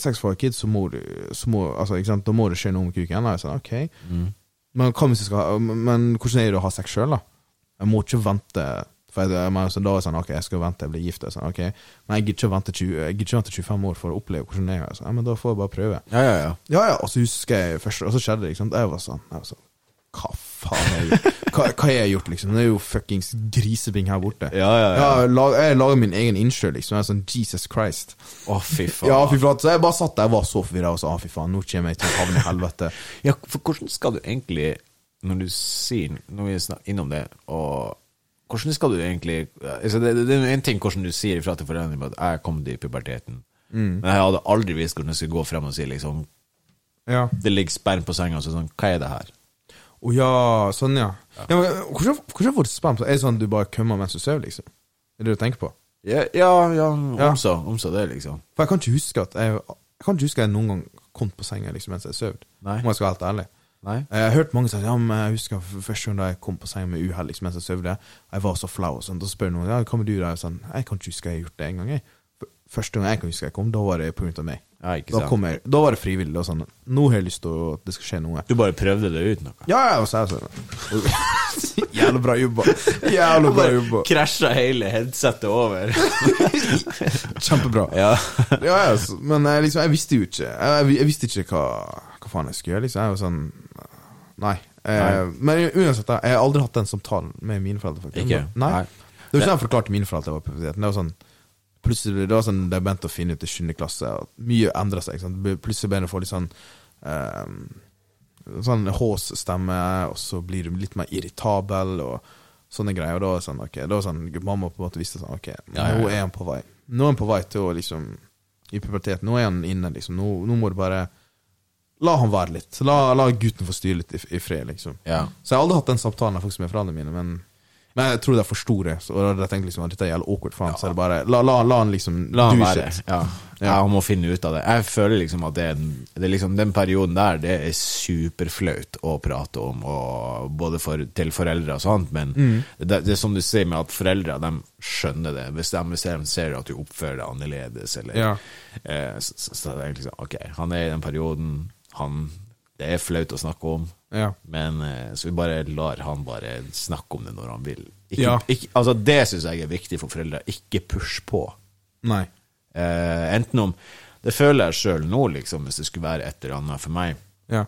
Speaker 2: sex for å ha kid, så må du, så må, altså, ikke sant? da må det skje noe med kuken. Da. Jeg sa, ok, men, hva hvis jeg skal, ha- men hvordan er det å ha sex sjøl, da? Jeg må ikke vente. For jeg, men, så da er jeg sånn, ok, jeg skal vente, jeg blir gift. Jeg sånn, ok, Men jeg gidder ikke å vente 20 jeg gidder ikke å vente 25 år for å oppleve hvordan det er. Jeg sa, ja, men da får jeg bare prøve.
Speaker 1: Ja, ja, ja.
Speaker 2: Ja, ja, og så husker jeg først, og så skjedde det, ikke sant. Jeg var sånn, jeg var sånn hva faen har jeg gjort? Hva, hva har jeg gjort, liksom? Det er jo fuckings grisebing her borte.
Speaker 1: Ja, ja, ja.
Speaker 2: jeg lag- jeg lager min egen innsjø, liksom. Jeg er sånn Jesus Christ.
Speaker 1: Å, fy faen.
Speaker 2: Ja, fy flate. Så jeg bare satt der, jeg var så forvirra og sa ah, fy faen, nå kommer jeg til å havne i helvete.
Speaker 1: Ja, for hvordan skal du egentlig Når du sier Når vi snakker innom det Og hvordan skal du egentlig altså det, det, det er en ting hvordan du sier ifra til foreldrene dine At jeg kom til puberteten Men jeg hadde aldri visst hvordan jeg skulle gå frem og si liksom
Speaker 2: Ja.
Speaker 1: Det ligger sperm på senga og så sånn Hva er det her?
Speaker 2: Å ja, sånn ja. ja. men, hvordan, hvordan får du spam? Er det sånn du bare kømmer mens du sover, liksom? Det er det du tenker på?
Speaker 1: Ja, ja, ja
Speaker 2: Ja.
Speaker 1: om så, om så det liksom
Speaker 2: For jeg kan ikke huske at jeg, jeg kan ikke huske at jeg noen gang kom på senga liksom, mens jeg sov.
Speaker 1: Nei.
Speaker 2: Om jeg skal være helt ærlig.
Speaker 1: Nei.
Speaker 2: Jeg har hørt mange si ja, men jeg husker f- første gang da jeg kom på senga med uhell liksom, mens jeg sov. Jeg var så flau. og sånn. Da spør noen ja, hva med du da? Jeg, er sånn, jeg kan ikke huske jeg har gjort det en gang. Jeg. F- Første gang jeg kan huske jeg kom, da var det pga. meg.
Speaker 1: Ja, ikke
Speaker 2: da,
Speaker 1: sant.
Speaker 2: kom jeg, da var det frivillig. Og sånn, nå har jeg lyst til å- at det skal skje noe.
Speaker 1: Du bare prøvde det ut noe
Speaker 2: Ja, ja, og så er jeg sånn Jævlig bra jobba. Jævlig bra jobba.
Speaker 1: krasja hele headsetet over
Speaker 2: Kjempebra.
Speaker 1: Ja
Speaker 2: ja, ja, så- men jeg, liksom, jeg visste jo ikke Jeg, jeg visste ikke hva, hva faen jeg skulle gjøre. Liksom. Jeg var sånn Nei. Eh, men uansett, da, jeg har aldri hatt den samtalen med mine foreldre. Faktisk.
Speaker 1: Ikke?
Speaker 2: Nei.
Speaker 1: Nei.
Speaker 2: Det var ikke sånn jeg forklarte mine foreldre det var puberteten. Det var sånn Plutselig det var sånn de begynte å finne ut i 7. klasse at mye endra seg. ikke Sant? Det ble- Plutselig begynte jeg å få litt sånn eh, Sånn hås stemme, og så blir du litt mer irritabel og sånne greier. Og da var det sånn, ok, da var det sånn Mamma på en måte visste sånn Ok,
Speaker 1: Ja, ja,
Speaker 2: nå
Speaker 1: ja.
Speaker 2: er han på vei. Nå er han på vei til å liksom I puberteten. Nå er han inne, liksom. Nå, nå må du bare La han være litt. La, la gutten få styre litt i, i fred, liksom.
Speaker 1: Ja.
Speaker 2: Så jeg har aldri hatt den samtalen faktisk med foreldrene mine, men, men jeg tror de forsto det. Så da hadde jeg tenkt liksom at dette er jævlig awkward for han, så er det bare La, la, la han liksom
Speaker 1: La han
Speaker 2: do
Speaker 1: være.
Speaker 2: shit.
Speaker 1: Ja. ja, han må finne ut av det. Jeg føler liksom at det er, en- det er liksom, den perioden der, det er superflaut å prate om, og både for, til foreldre og sånt, men
Speaker 2: Mm.
Speaker 1: det, det er som du sier med at foreldre, de skjønner det. Hvis de ser, ser at du oppfører deg annerledes, eller
Speaker 2: Ja.
Speaker 1: eh, så, så, så er det liksom, ok, han er i den perioden, han, det er flaut å snakke om,
Speaker 2: Ja.
Speaker 1: men eh, så vi bare lar han bare snakke om det når han vil. Ikke,
Speaker 2: Ja.
Speaker 1: ikke, altså det synes jeg er viktig for foreldre, ikke push på.
Speaker 2: Nei.
Speaker 1: Eh, enten om Det føler jeg sjøl nå, liksom, hvis det skulle være et eller annet for meg.
Speaker 2: Ja.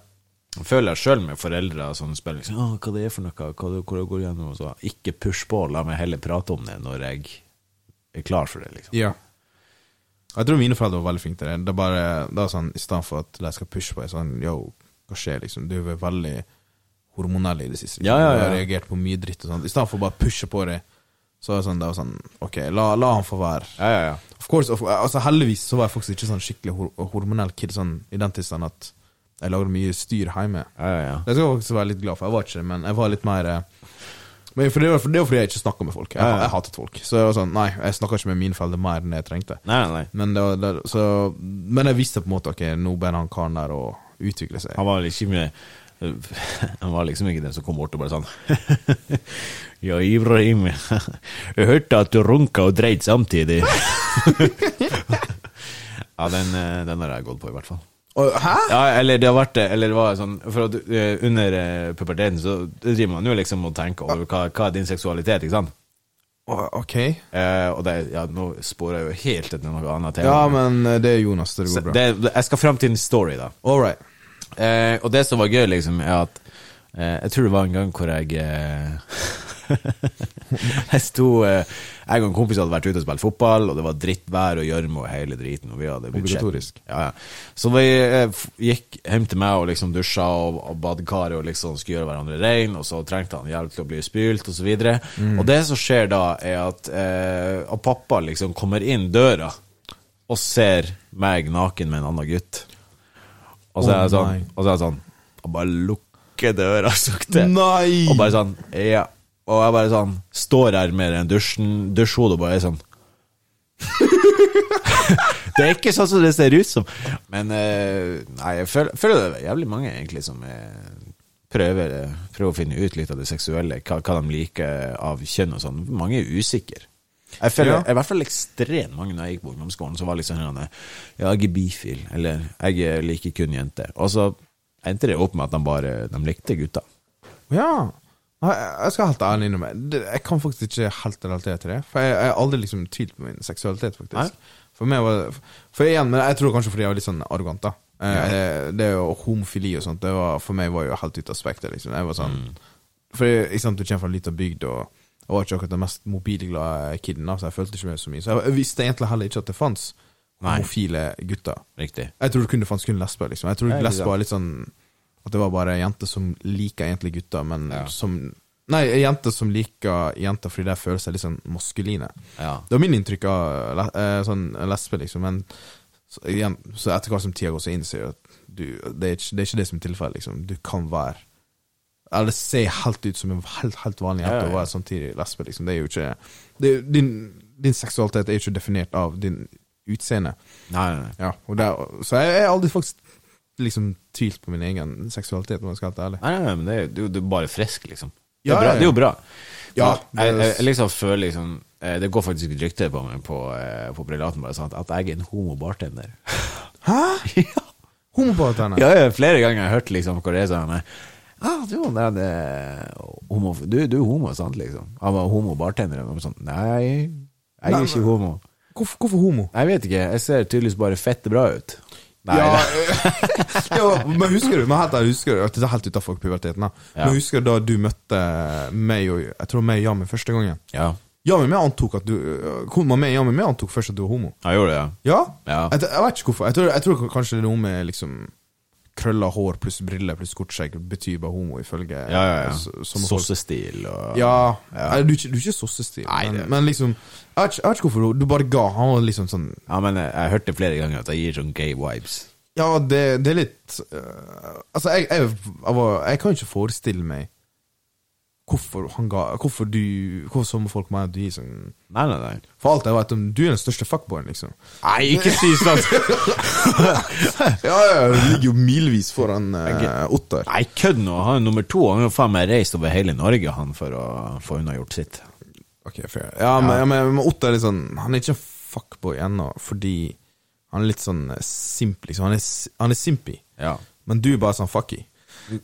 Speaker 1: Jeg føler jeg sjøl med foreldre som spør liksom, «Åh, hva det er for noe, hva det, hvor det går gjennom, og så ikke push på, la meg heller prate om det når jeg er klar for det, liksom.
Speaker 2: Ja. Jeg tror mine foreldre var veldig flinke til det. Det er bare det er sånn, I stedet for at de skal pushe på jeg er sånn Yo, hva skjer, liksom? Du er vel veldig hormonell i det siste. Liksom.
Speaker 1: Ja, ja, ja.
Speaker 2: Du har reagert på mye dritt og sånt. I stedet for å bare pushe på det, så er det sånn, det var sånn Ok, la, la han få være.
Speaker 1: Ja, ja, ja.
Speaker 2: Of course, of, altså Heldigvis så var jeg faktisk ikke sånn skikkelig hor hormonell kid sånn, i den tilstand at jeg lagde mye styr hjemme.
Speaker 1: Ja, ja, ja.
Speaker 2: Det skal jeg faktisk være litt glad for. Jeg var ikke det, men jeg var litt mer eh, Men for det var for det var fordi jeg ikke snakka med folk. Jeg,
Speaker 1: Ja, ja.
Speaker 2: jeg hatet folk. Så jeg var sånn, nei, jeg snakka ikke med mine foreldre mer enn jeg trengte.
Speaker 1: Nei, nei, nei.
Speaker 2: Men, det var, det, så, men jeg visste på en måte ok, nå begynner han karen der å utvikle seg.
Speaker 1: Han var liksom ikke Han var liksom ikke den som kom bort og bare sånn Ja, Ibrahim, jeg hørte at du runka og dreit samtidig. ja, den, eh, den har jeg gått på, i hvert fall.
Speaker 2: Og, hæ?
Speaker 1: Ja, eller det har vært det. Eller det var sånn For at eh, under eh, puberteten så driver man jo liksom og tenker over hva, hva er din seksualitet, ikke sant?
Speaker 2: Å, Ok.
Speaker 1: Eh, og det, ja, nå sporer jeg jo helt etter noe annet tema.
Speaker 2: Ja, men eh, det er Jonas, så det
Speaker 1: Så
Speaker 2: går bra.
Speaker 1: det, jeg skal fram til en story, da.
Speaker 2: All right.
Speaker 1: Eh, og det som var gøy, liksom, er at eh, Jeg tror det var en gang hvor jeg eh, Jeg sto eh, Jeg og en kompis hadde vært ute og spilt fotball, og det var drittvær og gjørme og hele driten. Og vi hadde blitt skjedd.
Speaker 2: Obligatorisk.
Speaker 1: Ja, ja. Så vi eh, f- gikk hjem til meg og liksom dusja og, og badekaret og liksom skulle gjøre hverandre rein, og så trengte han hjelp til å bli spylt, og så videre. Og det som skjer da, er at eh, og pappa liksom kommer inn døra og ser meg naken med en annen gutt. Og så er jeg
Speaker 2: Oh,
Speaker 1: sånn,
Speaker 2: nei.
Speaker 1: og så er jeg sånn Og bare lukker døra sakte.
Speaker 2: Nei!
Speaker 1: Og bare sånn Ja. Og jeg bare sånn Står her med en dusjen, dusjhode og bare er sånn Det er ikke sånn som det ser ut som. Men eh, nei, jeg føler, føler det er jævlig mange egentlig som eh, prøver, eh, prøver å finne ut litt av det seksuelle, hva, hva de liker av kjønn og sånn. Mange er usikre. Jeg føler
Speaker 2: Ja.
Speaker 1: i hvert fall ekstremt mange når jeg gikk på ungdomsskolen, som var liksom sånn Ja, jeg er bifil, eller jeg liker kun jenter. Og så endte det opp med at de bare de likte gutter.
Speaker 2: Ja. Nei, Jeg skal helt ærlig innrømme det- Jeg kan faktisk ikke helt relatere til det. For jeg jeg har aldri liksom tvilt på min seksualitet, faktisk.
Speaker 1: Nei.
Speaker 2: For meg var For igjen, men jeg tror kanskje fordi jeg var litt sånn arrogant, da. Eh, Det er jo homofili og sånt, det var, for meg var jo helt ute av spekteret, liksom. Jeg var sånn
Speaker 1: Mm.
Speaker 2: For jeg- ikke sant, du kommer fra en liten bygd, og jeg var ikke akkurat den mest mobilglade kiden, da, så jeg følte ikke meg så mye. Så jeg, jeg visste egentlig heller ikke at det fantes
Speaker 1: Nei.
Speaker 2: homofile gutter.
Speaker 1: Riktig.
Speaker 2: Jeg tror det kun det fantes kun lesber, liksom. Jeg tror
Speaker 1: Ja, ikke
Speaker 2: lesber er litt sånn At det var bare jenter som liker egentlig gutter, men
Speaker 1: Ja.
Speaker 2: som Nei, jenter som liker jenter fordi de føler seg litt sånn maskuline.
Speaker 1: Ja.
Speaker 2: Det var min inntrykk av le- eh, sånn lesber, liksom. Men så, igjen, så etter hvert som tida går, så innser jeg at du, det, er ikke, det er ikke det som er tilfellet, liksom. Du kan være Eller se helt ut som en helt, helt vanlig jente
Speaker 1: Ja, ja, ja.
Speaker 2: og være samtidig lesber, liksom. Det er jo ikke det, er- din, din seksualitet er jo ikke definert av din utseende.
Speaker 1: Nei, nei, nei.
Speaker 2: Ja, og det, er- så jeg jeg har aldri faktisk liksom tvilt på min egen seksualitet, om jeg skal være helt ærlig.
Speaker 1: Nei, nei, nei, men det er, jo- det er jo det er bare frisk, liksom. Det er,
Speaker 2: Ja,
Speaker 1: bra,
Speaker 2: ja, ja.
Speaker 1: Det er jo bra.
Speaker 2: Ja,
Speaker 1: Men jeg, jeg,
Speaker 2: det-
Speaker 1: jeg liksom føler liksom eh, Det går faktisk et rykte på meg på, eh, på prelaten bare sånn at- at jeg er en homo-bartender.
Speaker 2: Hæ? Homopartene?
Speaker 1: Ja, ja, flere ganger har jeg hørt liksom hvor det er sånn eh, ah, du, han der, det, homo, du, du er homo, sant? liksom Han var homo-bartender. Og de sånn Nei, jeg er
Speaker 2: Nei,
Speaker 1: ikke homo.
Speaker 2: Hvorfor, hvorfor homo?
Speaker 1: Jeg vet ikke, jeg ser tydeligvis bare fette bra ut. Nei,
Speaker 2: ja,
Speaker 1: nei.
Speaker 2: ja, men husker du, men helt ærlig, husker du Dette er helt utenfor puberteten, da.
Speaker 1: Ja.
Speaker 2: Men husker du da du møtte meg og Jeg tror meg og Jamie første gangen.
Speaker 1: ja.
Speaker 2: Jamie meg antok at du Kom med meg, Jamie meg antok først at du var homo.
Speaker 1: Jeg gjorde det, ja.
Speaker 2: Ja?
Speaker 1: Ja.
Speaker 2: Jeg, jeg vet ikke hvorfor. Jeg tror, jeg tror kanskje det er noe med liksom krølla hår pluss briller pluss kort skjegg betyr bare homo, ifølge
Speaker 1: ja, ja, ja.
Speaker 2: s- som folk-
Speaker 1: Sossestil og
Speaker 2: Ja, Nei, Du, er ikke- du er ikke sossestil,
Speaker 1: Nei,
Speaker 2: men,
Speaker 1: det-
Speaker 2: men liksom jeg vet, ikke, jeg vet ikke hvorfor du, du bare ga. Han var liksom sånn
Speaker 1: Ja, men jeg, jeg hørte flere ganger at jeg gir sånn gay vibes.
Speaker 2: Ja, det, det er litt øh, Altså, jeg, jeg, jeg, var, jeg kan ikke forestille meg hvorfor han ga Hvorfor du Hvorfor sånne folk mener at du gir sånn
Speaker 1: Nei, nei, nei.
Speaker 2: For alt jeg vet, om du er den største fuckboyen, liksom.
Speaker 1: Nei, ikke si sånn!
Speaker 2: Ja, ja, du ligger jo milevis foran øh, Ottar.
Speaker 1: Nei, kødd nå. Han er nummer to. Han har jo faen meg reist over hele Norge, han, for å få unnagjort sitt.
Speaker 2: Ok, fair. Ja, men, ja. men, men Otto er litt sånn Han er ikke en fuckboy ennå, fordi han er litt sånn eh, simp, liksom. Han er, s- han er simpy.
Speaker 1: Ja.
Speaker 2: Men du er bare sånn fucky.
Speaker 1: Fy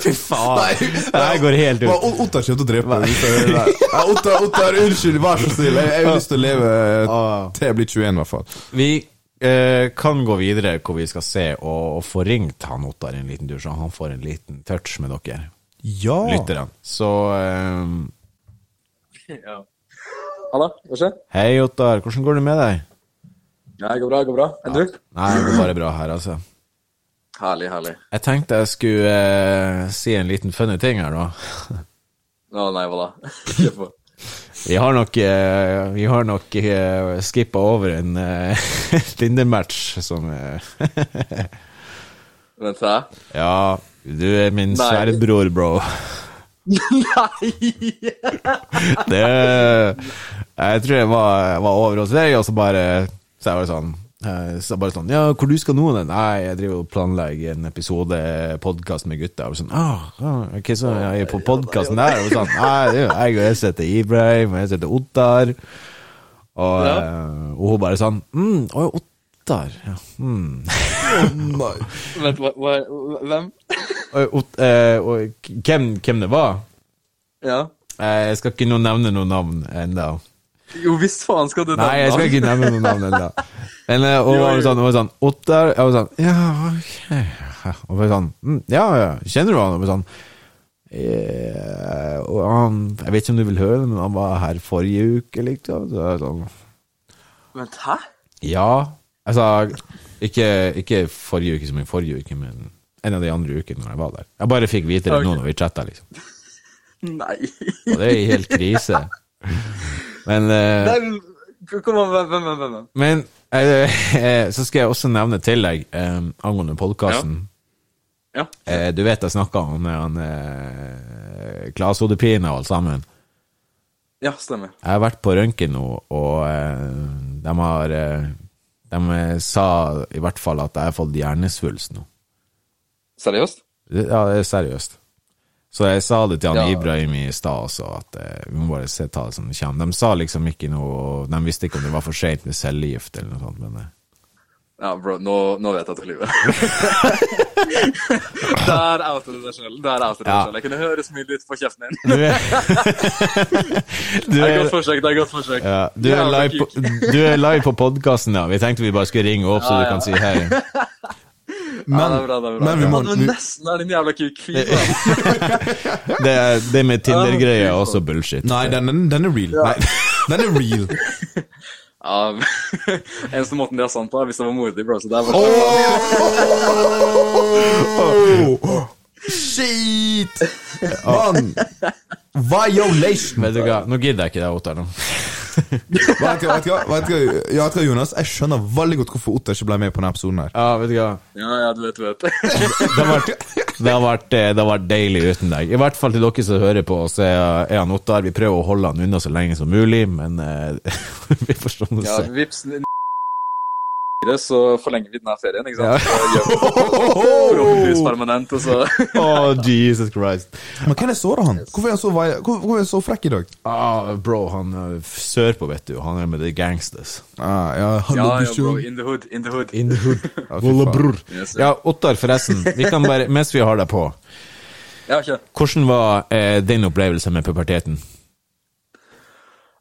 Speaker 2: Ah.
Speaker 1: faen! Det her går helt ut.
Speaker 2: Ottar kommer til å drepe meg. hvis jeg hører det her. Ja, Ottar, Ottar, unnskyld, vær så snill. Jeg, jeg har lyst til å leve
Speaker 1: Ah.
Speaker 2: til jeg blir 21, i hvert fall.
Speaker 1: Vi eh, kan gå videre hvor vi skal se og, og få ringt han Ottar en liten dusj, og han får en liten touch med dere
Speaker 2: Ja!
Speaker 1: lytterne. Så eh,
Speaker 4: Halla, hva skjer?
Speaker 1: Hei, Ottar. Hvordan går det med deg?
Speaker 4: Ja, det går bra, det går bra. Enn du?
Speaker 1: Nei, det går bare bra her, altså.
Speaker 4: Herlig, herlig.
Speaker 1: Jeg tenkte jeg skulle eh, si en liten funny ting her, da.
Speaker 4: Å nei, hva da? Kjør på.
Speaker 1: Vi har nok, eh, vi har nok eh, skippa over en eh, Tinder-match som eh,
Speaker 4: Vent, hæ?
Speaker 1: Ja, du er min
Speaker 4: Nei.
Speaker 1: sverdbror, bro.
Speaker 4: Nei!
Speaker 1: Det, jeg tror jeg var, var over hos deg, og så bare Så jeg var sånn eh, så bare sånn, ja, hvor du skal nå? da?» Nei, jeg driver og planlegger en episode podcast med gutta. Og sånn, ah, ah, ok, så er jeg på podcasten der? Og sånn, nei, det er jo jeg og jeg heter Ibrahim, og jeg heter Ottar. Og, eh, og hun bare sånn, mm, å, Ottar, ja, mm.
Speaker 5: Vent, hva, hva, hvem?
Speaker 1: Og, Ott- eh, og hvem, hvem det var?
Speaker 4: Ja.
Speaker 1: Eh, Jeg skal ikke nå nevne noen navn enda.
Speaker 4: Jo visst faen skal du
Speaker 1: Nei, jeg skal ikke nevne noen navn ennå. Men eh, og var sånn, og var sånn Ottar Jeg var sånn Ja, ok. Og var sånn «Mm, Ja, ja. Kjenner du han? Og var sånn «Eh, og han, Jeg vet ikke om du vil høre det, men han var her forrige uke, liksom. Så jeg sånn
Speaker 4: Vent, hæ?
Speaker 1: Ja. Altså, ikke, ikke forrige uke som i forrige uke, men en av de andre ukene når jeg var der. Jeg bare fikk vite det nå når vi chatta, liksom.
Speaker 4: Nei.
Speaker 1: Og det er helt krise. Men eh,
Speaker 4: Nei, men Kom an, hvem, hvem, hvem? hvem?
Speaker 1: Men eh, eh, så skal jeg også nevne til deg eh, angående podkasten.
Speaker 4: Ja.
Speaker 1: Eh, du vet jeg snakka om eh, han eh, Klas Hodepine og alt sammen.
Speaker 4: Ja, stemmer.
Speaker 1: Jeg har vært på røntgen nå, og eh, de har eh, De eh, sa i hvert fall at jeg har fått hjernesvulst nå.
Speaker 5: Seriøst?
Speaker 1: Det- Ja, det er seriøst. Så jeg sa det til han
Speaker 5: Ja.
Speaker 1: Ibrahim i stad også, at eh, vi må bare se, ta det som det kommer. De sa liksom ikke noe De visste ikke om det var for seint med cellegift eller noe sånt, men eh,
Speaker 4: Ja, bro, nå, nå vet jeg at du lyver. Der outet du deg selv. Der outet du deg
Speaker 1: Ja.
Speaker 4: selv. Jeg kunne høre smilet ut på kjeften din.
Speaker 1: Du er, du
Speaker 4: Det
Speaker 1: er,
Speaker 4: er et godt forsøk. det er et godt forsøk.
Speaker 1: ja, du er
Speaker 4: Jævla
Speaker 1: live på,
Speaker 4: kuk.
Speaker 1: du er live på podkasten, da. Vi tenkte vi bare skulle ringe opp, så du kan si hei.
Speaker 2: Men,
Speaker 4: ja, det er bra, det er bra.
Speaker 2: men vi må
Speaker 4: ja, men nesten er din jævla kuk. Fy faen.
Speaker 1: Det, er- det med Tinder-greia er også bullshit.
Speaker 2: Nei, den, den, den er real. Nei, den er real.
Speaker 4: Ja, eneste måten det er sant på, er hvis det var modig, bro. Så det er bare...
Speaker 2: Oh, shit! Man. Violation!
Speaker 1: Vet du hva, nå gidder jeg ikke det, Ottar. nå.
Speaker 2: Vet du hva, vet du hva, vet du hva, ja, vet du hva, Jonas? Jeg skjønner veldig godt hvorfor Otter ikke ble med på denne episoden. her
Speaker 1: Ja, vet du hva.
Speaker 4: Ja, ja, du vet, du vet.
Speaker 1: Det har vært, det har vært, eh, det har vært deilig uten deg. I hvert fall til dere som hører på, så er er han Ottar. Vi prøver å holde han unna så lenge som mulig, men eh, vi får stå og
Speaker 4: Ja,
Speaker 1: se.
Speaker 4: vips, n- så forlenger vi denne ferien, ikke sant? Så gjør vi forhåpentligvis permanent, og så...
Speaker 1: Å, Jesus Christ.
Speaker 2: Men hvem er det såret han? Hvorfor er han så, vi- hvor- hvorfor er han så frekk i dag?
Speaker 1: Ah, bro, han eh, sørpå, vet du. Han er med the gangsters.
Speaker 2: Ah, ja, hallo,
Speaker 4: Ja, ja, bro,
Speaker 2: Bjørn.
Speaker 4: in the hood, in the hood.
Speaker 1: In the hood.
Speaker 2: Ja, fy
Speaker 1: Walla,
Speaker 2: faen.
Speaker 1: bror.
Speaker 4: Yes, sir.
Speaker 1: Ja, Ottar, forresten. Vi kan bare, mens vi har deg på
Speaker 4: Ja, kjør.
Speaker 1: Hvordan var eh, din opplevelse med puberteten?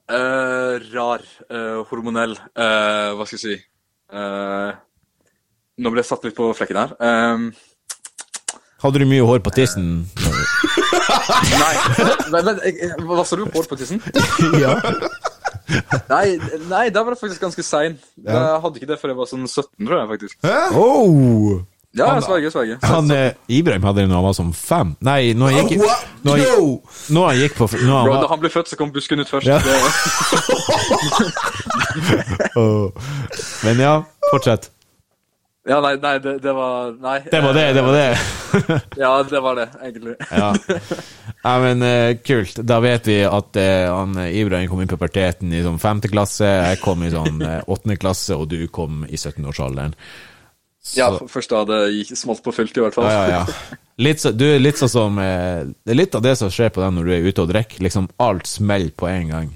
Speaker 4: Eh, rar, eh, hormonell, eh, hva skal jeg si Eh, Nå ble jeg satt litt på flekken her. Ehm,
Speaker 1: Hadde du mye hår på tissen?
Speaker 4: nei, vent, vent, jeg- jeg- hva sa du? Hår på tissen? Nei, nei, da var det faktisk ganske sein. Jeg hadde ikke det før jeg var sånn 17, tror jeg faktisk.
Speaker 2: Hæ?
Speaker 1: Oh.
Speaker 4: Ja, jeg sverger, sverger.
Speaker 1: Han, eh, Ibrahim hadde det da han var som fem. Nei, når han gikk,
Speaker 2: What?
Speaker 1: når han,
Speaker 2: Yo!
Speaker 1: når han gikk på når han
Speaker 4: Bro, da
Speaker 1: var,
Speaker 4: han ble født, så kom busken ut først.
Speaker 1: Ja.
Speaker 4: Det,
Speaker 1: Åh. Men ja, fortsett.
Speaker 4: ja, nei, nei, det, det var Nei.
Speaker 1: Det var det, det var det.
Speaker 4: Ja, det var det, egentlig.
Speaker 1: Ja. Nei, men eh, kult. Da vet vi at eh, han, eh, Ibrahim kom i puberteten i sånn femte klasse, jeg kom i sånn eh, åttende klasse, og du kom i 17-årsalderen.
Speaker 4: Ja, f- først da det gikk smalt på fullt, i hvert fall.
Speaker 1: Ja, ja, ja. Litt så, du er litt sånn som eh, Det er litt av det som skjer på deg når du er ute og drikker. Liksom alt smeller på en gang.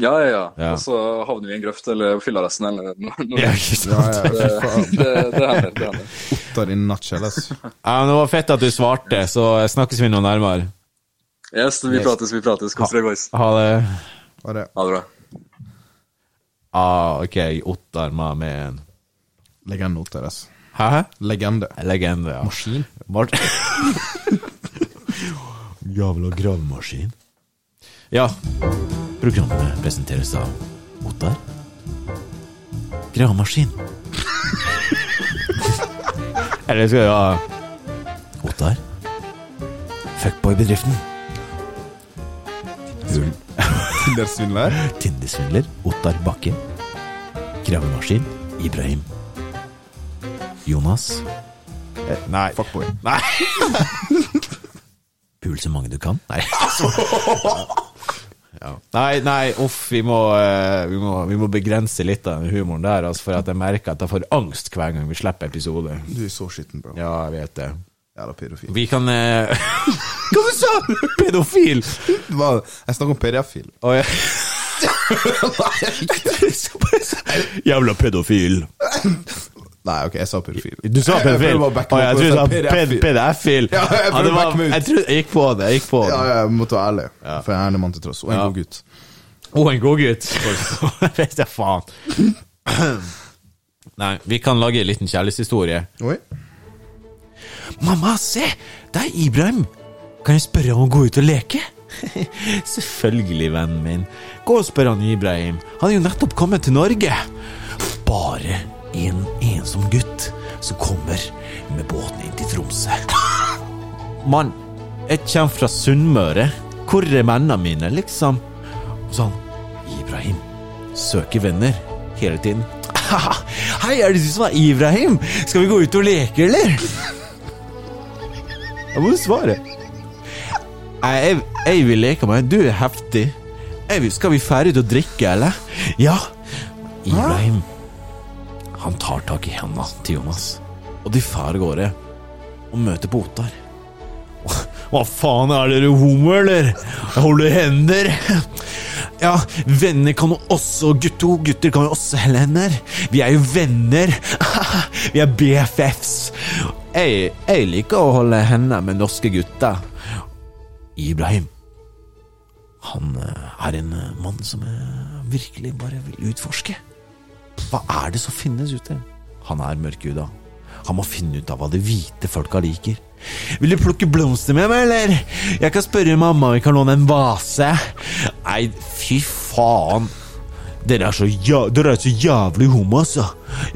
Speaker 4: Ja, ja, ja.
Speaker 1: Ja.
Speaker 4: Og så havner vi i en grøft eller fyllearresten eller noe. noe.
Speaker 1: Ja, ikke sant?
Speaker 2: Ja, ja, fy faen.
Speaker 4: Det, det hender. det hender.
Speaker 2: Otter in a nutshell, ass.
Speaker 1: Ja, men det var fett at du svarte, så eh, snakkes vi nå nærmere.
Speaker 4: Yes, vi prates, vi prates. Kos dere, boys.
Speaker 1: Ha det.
Speaker 2: Hva er det?
Speaker 4: Ha det bra.
Speaker 1: Ah, OK, Ottar Mamen.
Speaker 2: Legende, Otter, ass.
Speaker 1: Hæ?
Speaker 2: Legende.
Speaker 1: Legende, ja. Maskin? Jævla gravemaskin. Ja, programmet presenteres av Ottar. Gravemaskin. Eller skal vi ha Ottar. Fuckboy-bedriften. Hul-
Speaker 2: Tindersvindler.
Speaker 1: Tindesvindler Ottar Bakke. Gravemaskin Ibrahim. Jonas. Eh, nei.
Speaker 2: Fuckboy.
Speaker 1: Nei. Pul så mange du kan. Nei. Ja. Nei, nei, uff, vi må, eh, vi, må, vi må begrense litt av den humoren der, altså, for at jeg merker at jeg får angst hver gang vi slipper episode.
Speaker 2: Du er så skitten, bro.
Speaker 1: Ja, jeg vet det.
Speaker 2: Jævla pedofil.
Speaker 1: Vi kan eh... Hva du sa du? Pedofil!
Speaker 2: Hva? Jeg snakker om PDF-fil.
Speaker 1: Å, ja. Jævla pedofil.
Speaker 2: Nei, ok, jeg sa pedofil.
Speaker 1: Du sa
Speaker 2: Jeg- Jeg
Speaker 1: pedofil?
Speaker 2: prøver å backe
Speaker 1: Å,
Speaker 2: meg
Speaker 1: jeg
Speaker 2: opp,
Speaker 1: trodde du sa
Speaker 2: jeg
Speaker 1: ped-
Speaker 2: sa PDF.
Speaker 1: pedofil.
Speaker 2: Ja, jeg prøver
Speaker 1: det
Speaker 2: å
Speaker 1: var-
Speaker 2: backe meg ut.
Speaker 1: Jeg, trodde, jeg gikk på det. Jeg gikk på det.
Speaker 2: Ja, ja, jeg måtte være ærlig. For jeg er en ærlig mann til tross. Og en
Speaker 1: Ja.
Speaker 2: god gutt.
Speaker 1: Og en godgutt. Vet jeg faen. Nei, vi kan lage en liten kjærlighetshistorie.
Speaker 2: Oi.
Speaker 1: Mamma, se! Det er Ibrahim! Kan jeg spørre om å gå ut og leke? Selvfølgelig, vennen min. Gå og spør han Ibrahim. Han er jo nettopp kommet til Norge. Bare en ensom gutt som kommer med båten inn til Tromsø. Mann, jeg kommer fra Sunnmøre. Hvor er mennene mine, liksom? Og sånn, Ibrahim søker venner hele tiden. Hei, er det du som er Ibrahim? Skal vi gå ut og leke, eller? Jeg må jo svare. Nei, jeg, jeg vil leke med deg. Du er heftig. Jeg vil, skal vi fære ut og drikke, eller? Ja. Ibrahim, han tar tak i hendene til Jonas, og de fær av gårde og møter på Ottar. Hva faen, er dere homo, eller? Jeg holder hender. Ja, venner kan jo også Gutto, gutter kan jo også helle hender. Vi er jo venner. Vi er BFFs. Jeg, jeg liker å holde hender med norske gutter. Ibrahim. Han eh, er en eh, mann som jeg virkelig bare vil utforske. Hva er det som finnes ute? Han er mørkhuda. Han må finne ut av hva det hvite folka liker. Vil du plukke blomster med meg, eller? Jeg kan spørre mamma om vi kan låne en vase. Nei, fy faen. Dere er så, ja, dere er så jævlig homo, altså.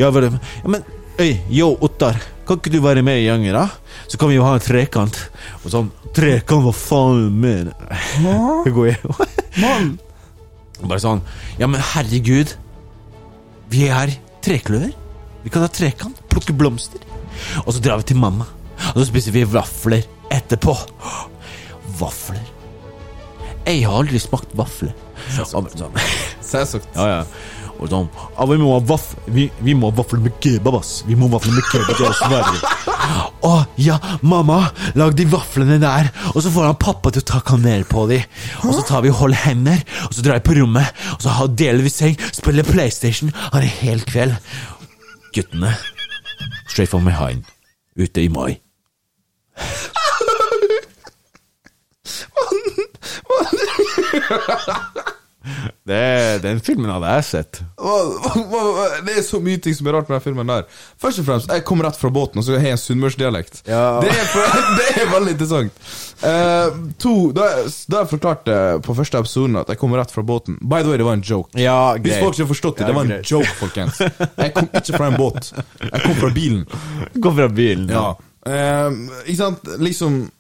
Speaker 1: Ja, vel, ja, men øy, yo, Ottar. Kan ikke du være med i gjengen, da? Så kan vi jo ha en trekant. Og sånn Trekant, hva faen mener du? Gå hjem. Bare sånn Ja, men herregud. Vi er trekløver. Vi kan ha trekant, plukke blomster. Og så drar vi til mamma. Og så spiser vi vafler etterpå. Vafler. Jeg har aldri smakt vafler. Og sånn-
Speaker 2: Selvsagt.
Speaker 1: Ja, ja. Og sånn ja, vi, må ha vaff vi, vi må ha vafler med kebab, ass. Vi må ha vafler med kebab til oss Sverige. Å ja, mamma, lag de vaflene der. Og så får han pappa til å ta kanel på de. Og så tar vi og holder hender, og så drar jeg på rommet, og så har- deler vi seng, spiller PlayStation, har en hel kveld. Guttene, straight from behind, ute i mai. den filmen hadde jeg sett.
Speaker 2: Hva- hva- hva- Det er så mye ting som er rart med den filmen der. Først og fremst, jeg kom rett fra båten, og så har jeg en sunnmørsdialekt.
Speaker 1: Ja.
Speaker 2: Det, er for- det er veldig interessant. Eh, to, da, jeg- da jeg forklarte på første episoden at jeg kom rett fra båten By the way, det var en joke.
Speaker 1: Ja,
Speaker 2: Hvis
Speaker 1: greit.
Speaker 2: folk ikke har forstått det,
Speaker 1: Ja,
Speaker 2: det var en
Speaker 1: greit.
Speaker 2: joke, folkens. Jeg kom ikke fra en båt. Jeg kom fra bilen.
Speaker 1: Gå fra bilen.
Speaker 2: Ja. Eh, ikke sant, liksom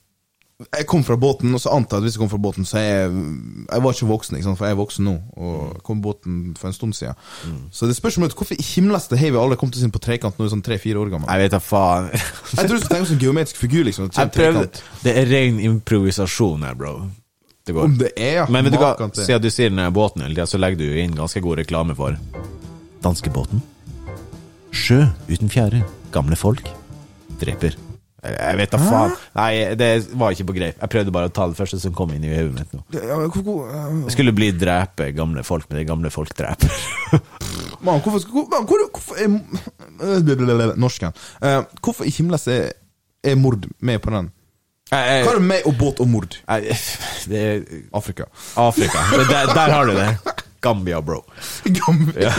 Speaker 2: Jeg kom fra båten, og så antar jeg at hvis jeg kom fra båten, så er jeg Jeg var ikke voksen, ikke sant? for jeg er voksen nå,
Speaker 1: Mm.
Speaker 2: og kom på båten for en stund siden. Så det spørs om hvorfor i himmeleste har vi alle kommet oss inn på trekant når vi er sånn tre-fire år gamle?
Speaker 1: Jeg vet da faen.
Speaker 2: Jeg tror du skal tenke som geometrisk figur, liksom. at
Speaker 1: Jeg
Speaker 2: det er en
Speaker 1: prøvde
Speaker 2: trekant.
Speaker 1: Det er ren improvisasjon her, bro. Det går.
Speaker 2: Om det er, ja.
Speaker 1: Men vet du hva,
Speaker 2: Makan til.
Speaker 1: siden du sier den her båten hele tiden, så legger du jo inn ganske god reklame for Danskebåten. Sjø uten fjære. Gamle folk. Dreper. Jeg- Jeg vet da faen. Nei, det var ikke på greip. Jeg prøvde bare å ta det første som kom inn i hodet mitt nå.
Speaker 2: Ja, men hvorfor, eh,
Speaker 1: Jeg skulle bli drepe gamle folk, men det er gamle folk dreper.
Speaker 2: man, hvorfor, skal- hvor- man, hvor, hvorfor er eh, blablabla, Norsken. Eh, hvorfor i himmeleste er, er mord med på den? Hva er det med og båt og mord?
Speaker 1: Nei, det er
Speaker 2: Afrika.
Speaker 1: Afrika. Det- Der, der har du det. Gambia, bro.
Speaker 2: Gamle.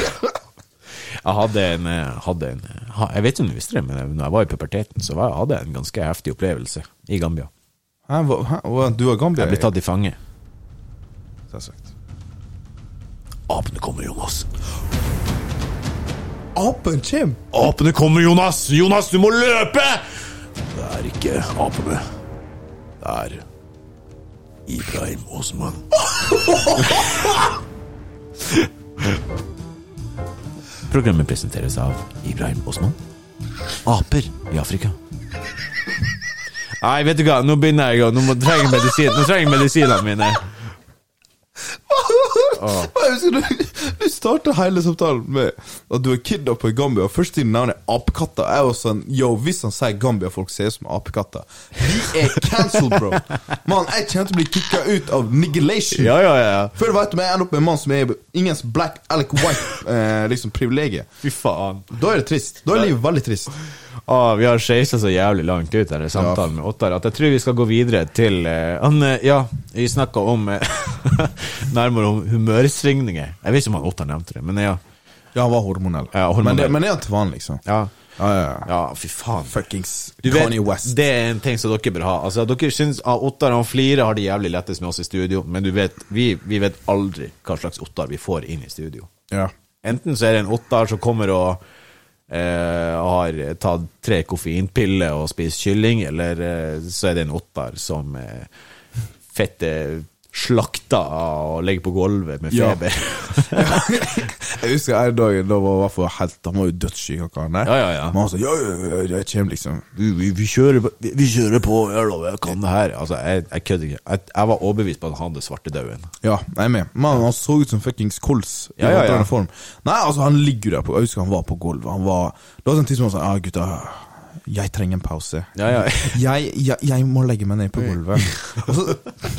Speaker 1: Jeg hadde en, eh, hadde en eh, ha- Jeg vet ikke om du visste det, men eh, når jeg var i puberteten, så var, hadde jeg en ganske heftig opplevelse i Gambia.
Speaker 2: Hæ, hva, hæ, hva, du og Gambia?
Speaker 1: Jeg ble tatt i fange.
Speaker 2: Selvsagt.
Speaker 1: Apene kommer, Jonas.
Speaker 2: Apen kjem!
Speaker 1: Apene kommer, Jonas! Jonas, du må løpe! Det er ikke apene. Det er Ibrahim Osman. Programmet presenteres av Ibrahim Osman. Aper i Afrika. Nei, vet du hva, nå begynner jeg å Nå må- trenger jeg medisin, nå trenger jeg medisinene mine.
Speaker 2: Jeg husker Du, du starta hele samtalen med at du er kidnappa i Gambia, og først din navn er apekatter. Jeg var sånn Yo, hvis han sier Gambia, folk ser ut som apekatter. Vi er cancelled, bro! Mann, jeg kommer til å bli kicka ut av nigelation.
Speaker 1: Ja, ja, ja.
Speaker 2: Før du vet om jeg ender opp med en mann som er ingens black Alec White eh, liksom privilegiet.
Speaker 1: Fy faen.
Speaker 2: Da er det trist. Da er livet veldig trist.
Speaker 1: Å, Ah, vi har skeisa så jævlig langt ut denne samtalen med Ottar at jeg tror vi skal gå videre til eh, han, eh, Ja, vi snakka om eh, Nærmere om humørsvingninger. Jeg vet ikke om han Ottar nevnte det, men ja.
Speaker 2: Ja, han var hormonell.
Speaker 1: Ja, hormonell.
Speaker 2: Men, det, men er han til vanlig, liksom?
Speaker 1: Ja,
Speaker 2: Ja, ja, ja.
Speaker 1: ja fy faen.
Speaker 2: Fuckings
Speaker 1: Du vet,
Speaker 2: Kanye West.
Speaker 1: Det er en ting som dere bør ha. Altså, dere syns ah, Ottar han flirer, har det jævlig lettest med oss i studio, men du vet, vi, vi vet aldri hva slags Ottar vi får inn i studio.
Speaker 2: Ja.
Speaker 1: Enten så er det en åttar som kommer og eh, har tatt tre koffeinpiller og spist kylling, eller eh, så er det en åttar som eh, fett er slakta og ligger på gulvet med
Speaker 2: Ja.
Speaker 1: feber.
Speaker 2: Jeg husker en dag da var i hvert fall helt Han var jo dødssyk, han karen der.
Speaker 1: Ja, ja, ja.
Speaker 2: Men han sa ja, ja, ja, ja, jeg kommer, liksom.
Speaker 1: vi, vi, vi, kjører, på- vi, vi kjører på, jeg lover, jeg kan det her. Altså, jeg, jeg kødder ikke. Jeg, jeg var overbevist på at han hadde svartedauden.
Speaker 2: Ja, jeg er med. Mannen han så ut som fuckings kols. i
Speaker 1: Ja, ja,
Speaker 2: en eller annen
Speaker 1: ja.
Speaker 2: Form. Nei, altså, han ligger der på Jeg husker han var på gulvet. Han var Det var sånn tidspunkt han sa Ja, gutta, jeg trenger en pause.
Speaker 1: Ja, ja.
Speaker 2: Jeg, jeg, jeg må legge meg ned på gulvet. Og så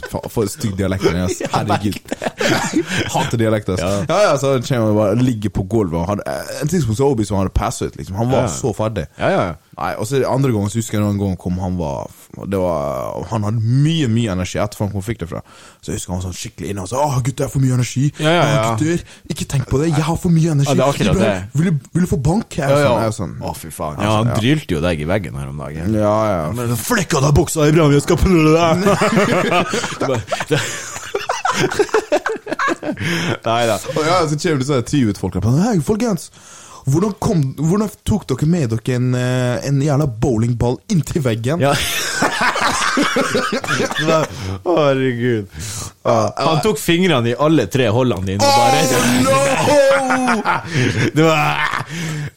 Speaker 2: Faen, for en stygg dialekt den er, ass. Herregud. Hater dialekt, ass. Ja, ja, så kommer han og bare ligger på gulvet. Og han, eh, en tidspunkt så Obi som hadde passet ut, liksom. Han var
Speaker 1: Ja.
Speaker 2: så ferdig.
Speaker 1: Ja, ja, ja.
Speaker 2: Nei, og så andre gangen så husker jeg noen gang kom han var, det var Han hadde mye mye energi etter han kom fikk det fra. Så jeg husker han var sånn skikkelig inne og sa 'Å, gutter, jeg har for mye energi'.
Speaker 1: Ja, ja, ja.
Speaker 2: «Å, gutter, ikke tenk på det, jeg har for mye energi.
Speaker 1: Ja, det er akkurat
Speaker 2: vil,
Speaker 1: det.
Speaker 2: Vil, du- vil du få bank? Jeg, er sånn, jeg, er sånn,
Speaker 1: Altså, Å, fy faen. Altså, Ja, han drylte jo deg i veggen her om dagen.
Speaker 2: ja, ja.
Speaker 1: Men Flekka deg buksa i brann, jeg skal pulle deg! Nei da.
Speaker 2: Og ja, så kommer det sånne triutfolk der. Hei, folkens. Hvordan, kom, hvordan tok dere med dere en, eh, en jævla bowlingball inntil veggen?
Speaker 1: Ja. Nei, Herregud. Han tok fingrene i alle tre hullene dine og bare
Speaker 2: Oh, no!
Speaker 1: det var,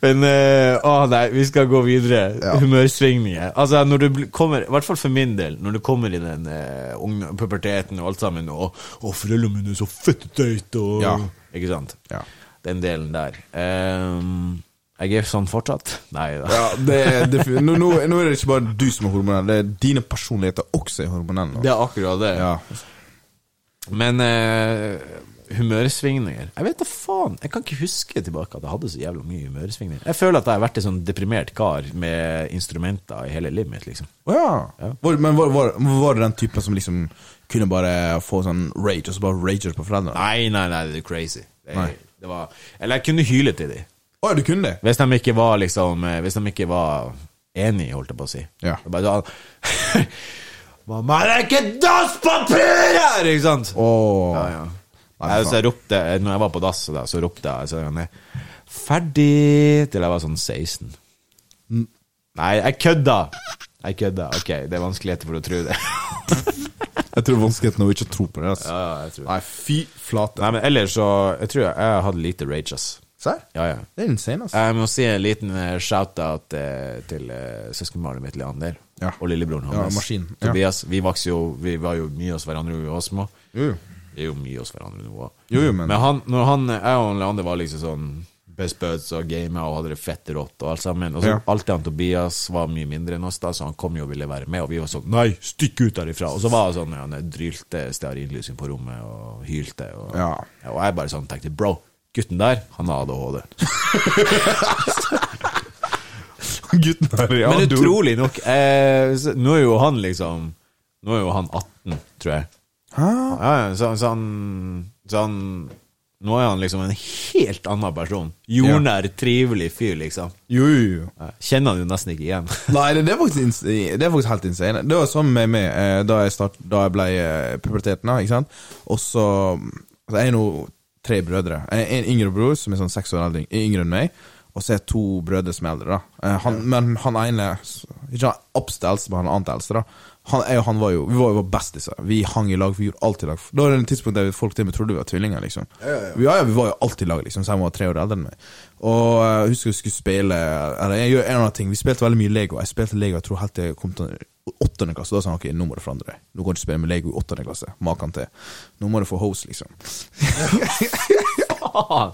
Speaker 1: Men eh, å nei, vi skal gå videre.
Speaker 2: Ja.
Speaker 1: Humørsvingninger. Altså, når du bl- kommer, i hvert fall for min del, når du kommer i den eh, ungdom- puberteten og alt sammen, og 'Å, foreldrene mine er så fette tøyte', og
Speaker 2: Ja.
Speaker 1: Ikke sant?
Speaker 2: Ja.
Speaker 1: Den delen der. Ehm, jeg er sånn fortsatt? Nei da.
Speaker 2: Ja, det, er defi- nå, nå, nå er det ikke bare du som er hormonell, det er dine personligheter også er hormonelle. nå.
Speaker 1: Det er akkurat det.
Speaker 2: Ja.
Speaker 1: Men eh, humørsvingninger Jeg vet da faen. Jeg kan ikke huske tilbake at jeg hadde så jævla mye humørsvingninger. Jeg føler at jeg har vært en sånn deprimert kar med instrumenter i hele livet mitt, liksom.
Speaker 2: Å ja. Var, men var, var, var det den typen som liksom kunne bare få sånn rage, og så bare rager du på foreldrene?
Speaker 1: Nei, nei, nei, det er crazy. Det,
Speaker 2: Nei.
Speaker 1: det var, eller jeg kunne hyle til dem.
Speaker 2: Å ja, du kunne det?
Speaker 1: Hvis de ikke var liksom eh, Hvis de ikke var enige, holdt jeg på å si.
Speaker 2: Ja.
Speaker 1: Det er Bare sånn Mamma, det er ikke dasspapir her! Ikke sant?
Speaker 2: Åh
Speaker 1: Ja, ja.
Speaker 2: Nei,
Speaker 1: jeg, så jeg ropte, når jeg var på dass, så da- så ropte jeg så jeg, ferdig til jeg var sånn 16.
Speaker 2: Mm.
Speaker 1: Nei, jeg kødda! Jeg kødda. Ok, det er vanskeligheter for å tro det.
Speaker 2: Jeg tror vanskeligheten er å ikke tro på det. Altså.
Speaker 1: Ja, jeg tror det.
Speaker 2: Nei, fy flate.
Speaker 1: Nei, men ellers så Jeg tror jeg, jeg hadde lite rage, ass.
Speaker 2: Serr?
Speaker 1: Ja, ja.
Speaker 2: Det er insane, altså.
Speaker 1: Jeg må si en liten eh, shout-out eh, til eh, søskenbarnet mitt Leander
Speaker 2: Ja.
Speaker 1: og lillebroren
Speaker 2: Ja,
Speaker 1: hans.
Speaker 2: maskin. Ja.
Speaker 1: Tobias. Vi, vokste jo, vi var jo mye hos hverandre da vi var små.
Speaker 2: Jo, jo.
Speaker 1: Vi er jo mye hos hverandre nå òg.
Speaker 2: Jo, jo, men-
Speaker 1: han, når han, jeg og Leander var liksom sånn best buds og gamet og hadde det fett rått og alt sammen. Og så
Speaker 2: Ja.
Speaker 1: alltid han Tobias var mye mindre enn oss, da, så han kom jo og ville være med, og vi var sånn Nei, stikk ut derifra! Og så var det sånn ja, han drylte stearinlysing på rommet og hylte. Og,
Speaker 2: Ja.
Speaker 1: og jeg bare sånn tenkte Bro, gutten der, han har ADHD.
Speaker 2: Gutten her, ja.
Speaker 1: Men
Speaker 2: du-
Speaker 1: utrolig nok eh, så- Nå er jo han liksom Nå er jo han 18, tror jeg ja, ja, så, så, han, så han Nå er han liksom en helt annen person Jordnær, trivelig fyr liksom
Speaker 2: Jo, jo, jo.
Speaker 1: Ja, Kjenner han jo nesten ikke igjen
Speaker 2: Nei, det, det, er faktisk, ins- det er faktisk helt insane. Det var sånn med meg eh, da jeg, start, da jeg ble eh, puberteten. da, Ikke sant? Og så altså, Jeg er nå tre brødre. Jeg er en yngre bror som er sånn seks år eldre, yngre enn meg. Og så er jeg to brødre som er eldre. da Eh, han, Men han ene Ikke han absolutt eldste, men han annet eldste. da han, jeg og han var jo Vi var jo bestiser. Vi hang i lag, vi gjorde alt i lag. Da var det en tidspunkt der folk til og med trodde vi var tvillinger. liksom ja ja, vi var jo alltid i lag, liksom, selv om han var tre år eldre enn meg. Og eh, jeg husker vi skulle spille Eller jeg gjør en annen ting Vi spilte veldig mye Lego. Jeg spilte Lego jeg tror helt til jeg kom til åttende klasse. Da sa han ok, nå må du forandre deg. Nå kan du ikke spille med Lego i åttende klasse. Maken til. Nå må du få hose, liksom.
Speaker 1: Faen!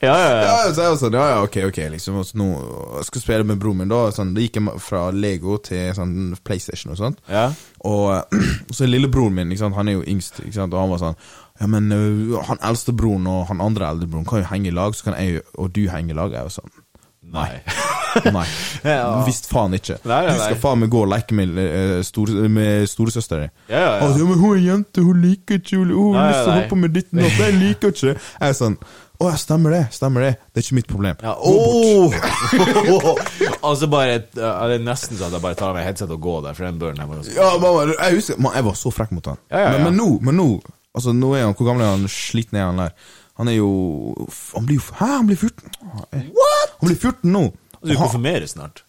Speaker 1: ja, ja, ja.
Speaker 2: Ja, så jeg var sånn, ja, ja, ok, ok, liksom. Og så nå jeg skulle spille med broren min, da. Sånn, det gikk jeg fra Lego til sånn, PlayStation og sånt.
Speaker 1: Ja.
Speaker 2: Og eh, så lillebroren min, ikke sant? han er jo yngst, ikke sant? og han var sånn Ja, men eh, han eldste broren og han andre eldre broren kan jo henge i lag, så kan jeg og du henge i lag. Jeg var sånn
Speaker 1: Nei.
Speaker 2: Nei.
Speaker 1: Ja.
Speaker 2: Visst faen ikke.
Speaker 1: Nei, nei,
Speaker 2: Du skal
Speaker 1: nei.
Speaker 2: faen meg gå og leke med, eh, store, med storesøstera di.
Speaker 1: Ja, ja, ja.
Speaker 2: Å, men hun er jente, hun liker ikke Hun hun har
Speaker 1: Nei,
Speaker 2: lyst til å
Speaker 1: nei.
Speaker 2: holde på med ditt og datt, jeg liker ikke det. Jeg er sånn Å ja, stemmer det. Stemmer det. Det er ikke mitt problem.
Speaker 1: Ja, oh! altså bare et, ja, Det er nesten så at jeg bare tar av meg headset og går der, for den døren her var jo
Speaker 2: Ja, mamma, jeg husker man, Jeg var så frekk mot han.
Speaker 1: Ja, ja, ja.
Speaker 2: Men, men nå, men nå Altså, nå er han Hvor gammel er han? Sliten er han der? Han er jo Han blir jo Hæ, han blir 14? What?! Han blir 14 nå!
Speaker 1: Du
Speaker 2: Og han-
Speaker 1: konfirmerer snart.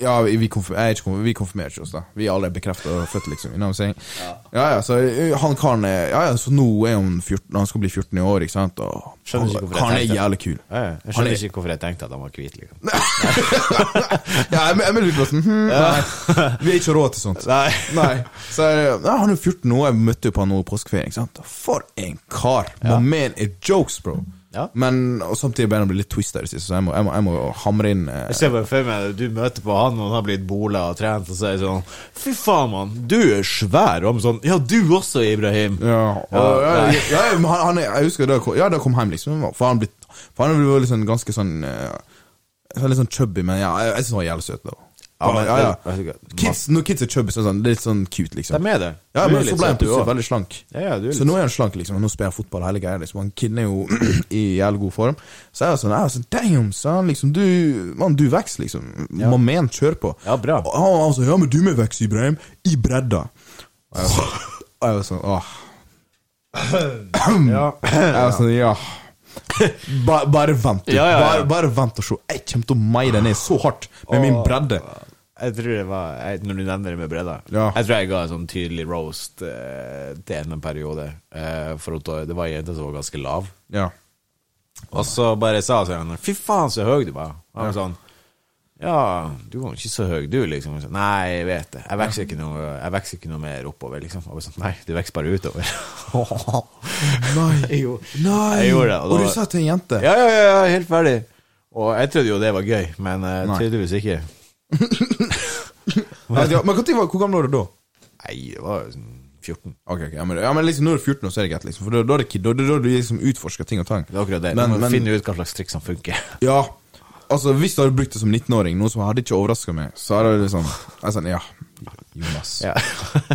Speaker 2: Ja, vi, vi, konfir jeg er ikke konfir vi konfirmerer ikke oss, da. Vi er alle bekreftet og født, liksom. You know what I'm saying? Ja, ja, så ø, han karen er Ja, ja, så nå er han 14, han skal bli 14 i år, ikke sant? Og
Speaker 1: Skjønner ikke hvorfor jeg
Speaker 2: karen er
Speaker 1: tenkte-
Speaker 2: jævlig kul.
Speaker 1: Ja, ja. Jeg
Speaker 2: Han
Speaker 1: skjønner
Speaker 2: er-
Speaker 1: ikke hvorfor jeg tenkte at han var hvit. Liksom.
Speaker 2: Ja, jeg, jeg melder utklassen. Hm, Nei, vi har ikke råd til sånt.
Speaker 1: Nei.
Speaker 2: Nei. Så er det- ja, han er 14 nå, jeg møtte jo på han nå i påskeferien. ikke sant? For en kar! My man er jokes, bro.
Speaker 1: Ja.
Speaker 2: Men og samtidig begynner han å bli litt twista i det siste, så jeg må, jeg må, jeg må hamre inn eh,
Speaker 1: Jeg ser bare for meg du møter på han, og han har blitt bola og trent, og så er det sånn Fy faen, mann, du er svær! Og han sånn Ja, du også, Ibrahim!
Speaker 2: Ja, og, ja, ja, ja, men han, han, er- jeg husker da jeg kom- Ja, da jeg kom hjem, liksom. For han ble, for han ble liksom ganske sånn eh, så Litt sånn chubby, men ja, jeg, jeg syns han var jævlig søt. da
Speaker 1: Ja, men-
Speaker 2: ja,
Speaker 1: det- det
Speaker 2: ja.
Speaker 1: er så godt.
Speaker 2: Kids, når kids er chubby, så er det sånn, det er litt sånn cute, liksom.
Speaker 1: De er det.
Speaker 2: Ja,
Speaker 1: Du er
Speaker 2: men så
Speaker 1: litt
Speaker 2: ble han
Speaker 1: søt, du
Speaker 2: plutselig
Speaker 1: også.
Speaker 2: veldig slank.
Speaker 1: Ja, ja, du er
Speaker 2: så
Speaker 1: litt
Speaker 2: nå er han slank, liksom. Og nå spiller jeg fotball og hele greia. Liksom. Han kiden er jo i jævlig god form. Så jeg er sånn, jeg er sånn Damn, son! Liksom, du mann, du vokser, liksom. Ja. Man, kjør på.
Speaker 1: Ja, bra.
Speaker 2: Og han han sa ja, men du må vokse, Ibrahim. I bredda. Og jeg var sånn, og jeg var sånn åh.
Speaker 1: Ja.
Speaker 2: Jeg var sånn, ja. Bare, bare vent, du.
Speaker 1: Ja, ja, ja.
Speaker 2: Bare, bare vent og se. Jeg kommer til å meie deg ned så hardt med min bredde.
Speaker 1: Jeg tror det var jeg, Når du nevner det med Breda
Speaker 2: Ja.
Speaker 1: Jeg tror jeg ga en sånn tydelig roast eh, til henne en periode. eh, for at da- det var ei jente som var ganske lav.
Speaker 2: Ja.
Speaker 1: Og så bare sa jeg til henne 'fy faen, så høy du var'. Og hun sånn 'ja, du var jo ikke så høy, du', liksom. Og jeg sa, Nei, jeg vet det. Jeg vokser ikke, noe- jeg vokser ikke noe mer oppover, liksom. Og jeg sånn, Nei, du vokser bare utover.
Speaker 2: Nei.
Speaker 1: Jo.
Speaker 2: Nei.
Speaker 1: Jeg gjorde det, og
Speaker 2: og
Speaker 1: da-
Speaker 2: du sa til en jente.
Speaker 1: Ja, ja, ja, ja, helt ferdig. Og jeg trodde jo det var gøy, men eh,
Speaker 2: Nei.
Speaker 1: tydeligvis ikke.
Speaker 2: Ja, ja, men hvor, tid var- hvor gammel var du da?
Speaker 1: Nei, det var jo sånn 14.
Speaker 2: Ok, ok, ja, men, ja, men liksom når du er 14 år, så er det greit, liksom. For da, da er det kid, da, da, da du liksom utforsker ting og tang.
Speaker 1: Det er akkurat det.
Speaker 2: Men,
Speaker 1: du må
Speaker 2: men
Speaker 1: finne ut hva slags triks som funker.
Speaker 2: ja, altså hvis du hadde brukt det som 19-åring, noe som hadde ikke overraska meg, så er det liksom Jeg er sånn, ja, Jonas.
Speaker 1: Ja.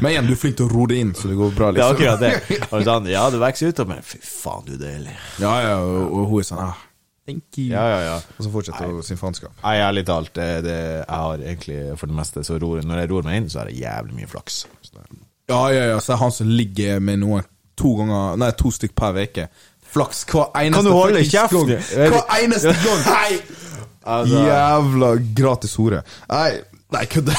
Speaker 2: Men igjen, du er flink til å ro det inn, så det går bra,
Speaker 1: Det er
Speaker 2: liksom.
Speaker 1: akkurat det. Og sånn, ja, det vokser utover, men fy faen, du er deilig.
Speaker 2: Ja, ja, og, og hun er sånn, ah, thank you.
Speaker 1: Ja, ja, ja.
Speaker 2: Og så fortsetter hun sin faenskap.
Speaker 1: Nei, ærlig talt, det, det, jeg har egentlig for det meste så ror, Når jeg ror meg inn, så er det jævlig mye flaks. Så det-
Speaker 2: Ja, ja, ja, så er han som ligger med noen to ganger Nei, to stykk per uke. Flaks hver eneste
Speaker 1: du holde
Speaker 2: fuckings
Speaker 1: kjeft?
Speaker 2: gang. Hver eneste gang! Nei!
Speaker 1: Altså.
Speaker 2: Jævla gratis hore. Nei, nei, kødder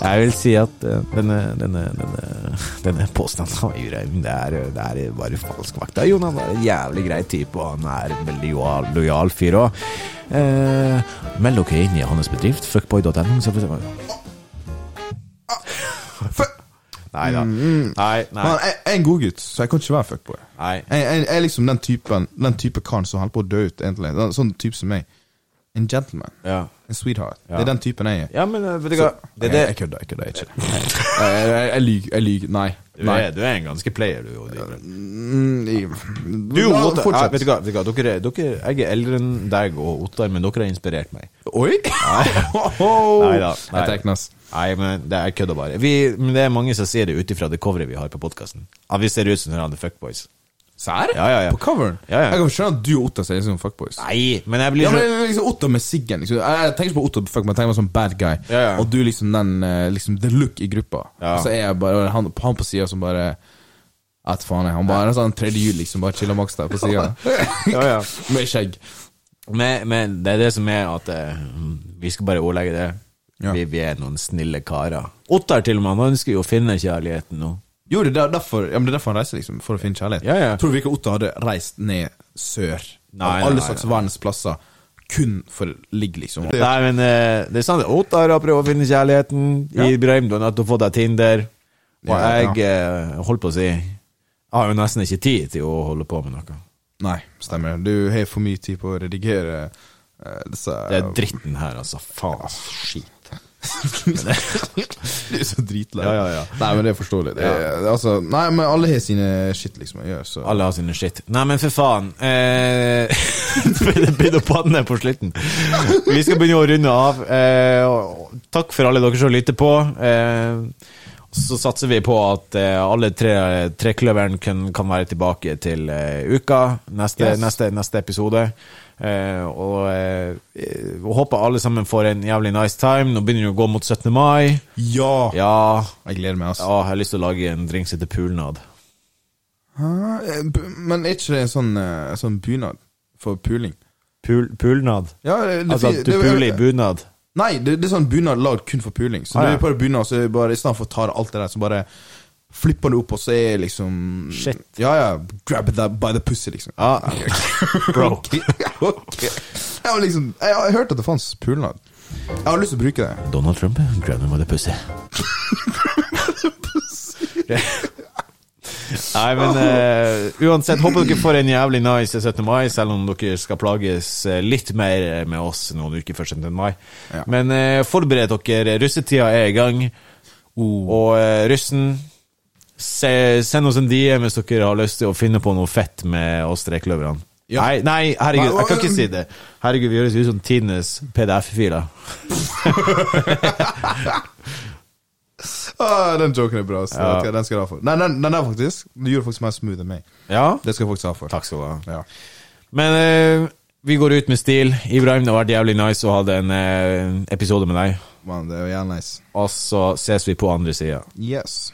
Speaker 1: Jeg vil si at eh, denne, denne, denne, denne påstanden om Jurheim, det er, eh, det er bare falsk vakt. Ja, Jonas er en jævlig grei type, og han er en veldig lojal, lojal fyr òg. Eh, meld dere inn i hans bedrift, fuckboy.no. så får dere- Nei da. Nei, nei.
Speaker 2: Men jeg, jeg er en god gutt, så jeg kan ikke være fuckboy.
Speaker 1: Nei.
Speaker 2: Jeg, jeg, jeg er liksom den typen Den type karen som holder på å dø ut, egentlig. Den- Sånn type som meg. En gentleman.
Speaker 1: Ja.
Speaker 2: En sweetheart.
Speaker 1: Ja.
Speaker 2: Det er den typen jeg er.
Speaker 1: Ja, men eh, vet du
Speaker 2: Så-
Speaker 1: hva Det er det
Speaker 2: Jeg- Jeg kødder, jeg kødder jeg er ikke. det. Jeg- jeg- jeg- Jeg lyver. Jeg lyver. Nei.
Speaker 1: Du
Speaker 2: Nei.
Speaker 1: er, du er en ganske player, du. og Du,
Speaker 2: Mm, jeg-
Speaker 1: du
Speaker 2: La-
Speaker 1: Ottar, ja,
Speaker 2: fortsett.
Speaker 1: vet du hva, vet du hva dere, er- dere, jeg er eldre enn deg og Ottar, men dere har inspirert meg.
Speaker 2: Oi!
Speaker 1: Nei
Speaker 2: Nei
Speaker 1: da. Nei.
Speaker 2: Jeg trekker nes.
Speaker 1: Nei, men det er kødda bare. Vi, men det er mange som sier det ut ifra det coveret vi har på podkasten. At vi ser ut som sånne fuckboys.
Speaker 2: Serr?
Speaker 1: Ja, ja, ja.
Speaker 2: På coveren?
Speaker 1: Ja, ja.
Speaker 2: Jeg kan skjønne at du og Otto ser ut som fuckboys.
Speaker 1: Nei, men jeg blir
Speaker 2: Ja,
Speaker 1: så
Speaker 2: men liksom Otto med siggen liksom. Jeg jeg tenker ikke på Otto, fuck, men jeg tenker på sånn bad guy.
Speaker 1: Ja, ja.
Speaker 2: Og du liksom den eh, Liksom the look i gruppa.
Speaker 1: Ja.
Speaker 2: Og så er jeg bare han, han på sida som bare At faen, jeg. Han bare er en sånn tredje hjul, liksom. Bare chiller maks der på sida.
Speaker 1: Ja, ja.
Speaker 2: med skjegg.
Speaker 1: Men, men det er det som er at eh, vi skal bare ordlegge det.
Speaker 2: Ja.
Speaker 1: Vi, vi er noen snille karer. Ottar til og med, han ønsker jo å finne kjærligheten nå.
Speaker 2: Jo, det er der- derfor, ja, men det er derfor han reiser, liksom. For å finne kjærlighet.
Speaker 1: Ja, ja.
Speaker 2: Tror du ikke Otto hadde reist ned sør?
Speaker 1: Nei,
Speaker 2: av alle
Speaker 1: nei,
Speaker 2: slags
Speaker 1: nei.
Speaker 2: verdens plasser. Kun for ligg, liksom.
Speaker 1: Nei, men eh, det er sant. Ottar har prøvd å finne kjærligheten. Ibrahim, du har nettopp fått deg Tinder. Og
Speaker 2: Ja,
Speaker 1: jeg eh, holdt på å si Jeg har jo nesten ikke tid til å holde på med noe.
Speaker 2: Nei, stemmer. Du har for mye tid på å redigere eh, disse
Speaker 1: Det er dritten her, altså. Faen. Skit.
Speaker 2: Du er så dritlei.
Speaker 1: Ja, ja, ja.
Speaker 2: Nei, men det er forståelig. Det er, altså, nei, men alle har sine shit, liksom. å gjøre, så.
Speaker 1: Alle har sine skitt. Nei, men for faen. Eh, det begynner å panne på slutten. Vi skal begynne å runde av. Eh, og takk for alle dere som lytter på. Eh, så satser vi på at eh, alle tre trekløveren kan, kan være tilbake til eh, uka. Neste,
Speaker 2: Yes.
Speaker 1: neste, neste episode. Eh, og eh, eh, håper alle sammen får en jævlig nice time. Nå begynner det å gå mot 17. mai.
Speaker 2: Ja.
Speaker 1: Ja,
Speaker 2: Jeg gleder meg, altså.
Speaker 1: ja jeg har lyst til å lage en drink som heter pulnad.
Speaker 2: Hæ? Eh, B- Men er ikke det en sånn, eh, sånn bunad for puling?
Speaker 1: Pul, pulnad?
Speaker 2: Ja, det, det,
Speaker 1: Altså at du
Speaker 2: det-
Speaker 1: puler i bunad?
Speaker 2: Nei, det, det er sånn bunad lagd kun for puling. Så
Speaker 1: Ah,
Speaker 2: du
Speaker 1: ja.
Speaker 2: er på det bunad, så er det bare, i stedet for å ta alt det der, så bare flipper du opp, og så er liksom
Speaker 1: Shit.
Speaker 2: Ja, ja. Grab that by the pussy, liksom.
Speaker 1: Ja, bro.
Speaker 2: ok. Jeg har liksom Jeg har hørt at det fantes pulnad. Jeg har lyst til å bruke det.
Speaker 1: Donald Trump, eh? grab him by the pussy. Nei, men eh, uansett, håper dere får en jævlig nice 17. mai, selv om dere skal plages eh, litt mer med oss noen uker før 17. mai.
Speaker 2: Ja.
Speaker 1: Men eh, forbered dere, russetida er i gang.
Speaker 2: Oh.
Speaker 1: Og eh, russen se, Send oss en DM hvis dere har lyst til å finne på noe fett med oss trekløverne.
Speaker 2: Ja.
Speaker 1: Nei, nei, herregud,
Speaker 2: Nei,
Speaker 1: jeg kan
Speaker 2: hva-
Speaker 1: ikke si det. Herregud, vi høres ut som tidenes PDF-filer.
Speaker 2: Ah, den joken er bra. Så ok, den skal du ha for. Nei, den, den der faktisk. Du gjorde faktisk mer smooth enn meg.
Speaker 1: Ja?
Speaker 2: Det skal jeg faktisk ha for.
Speaker 1: Takk skal du ha.
Speaker 2: Ja.
Speaker 1: Men eh, vi går ut med stil. Ibrahim, det har vært jævlig nice å ha en eh, episode med deg.
Speaker 2: Man, det er jo jævlig nice.
Speaker 1: Og så ses vi på andre sida.
Speaker 2: Yes.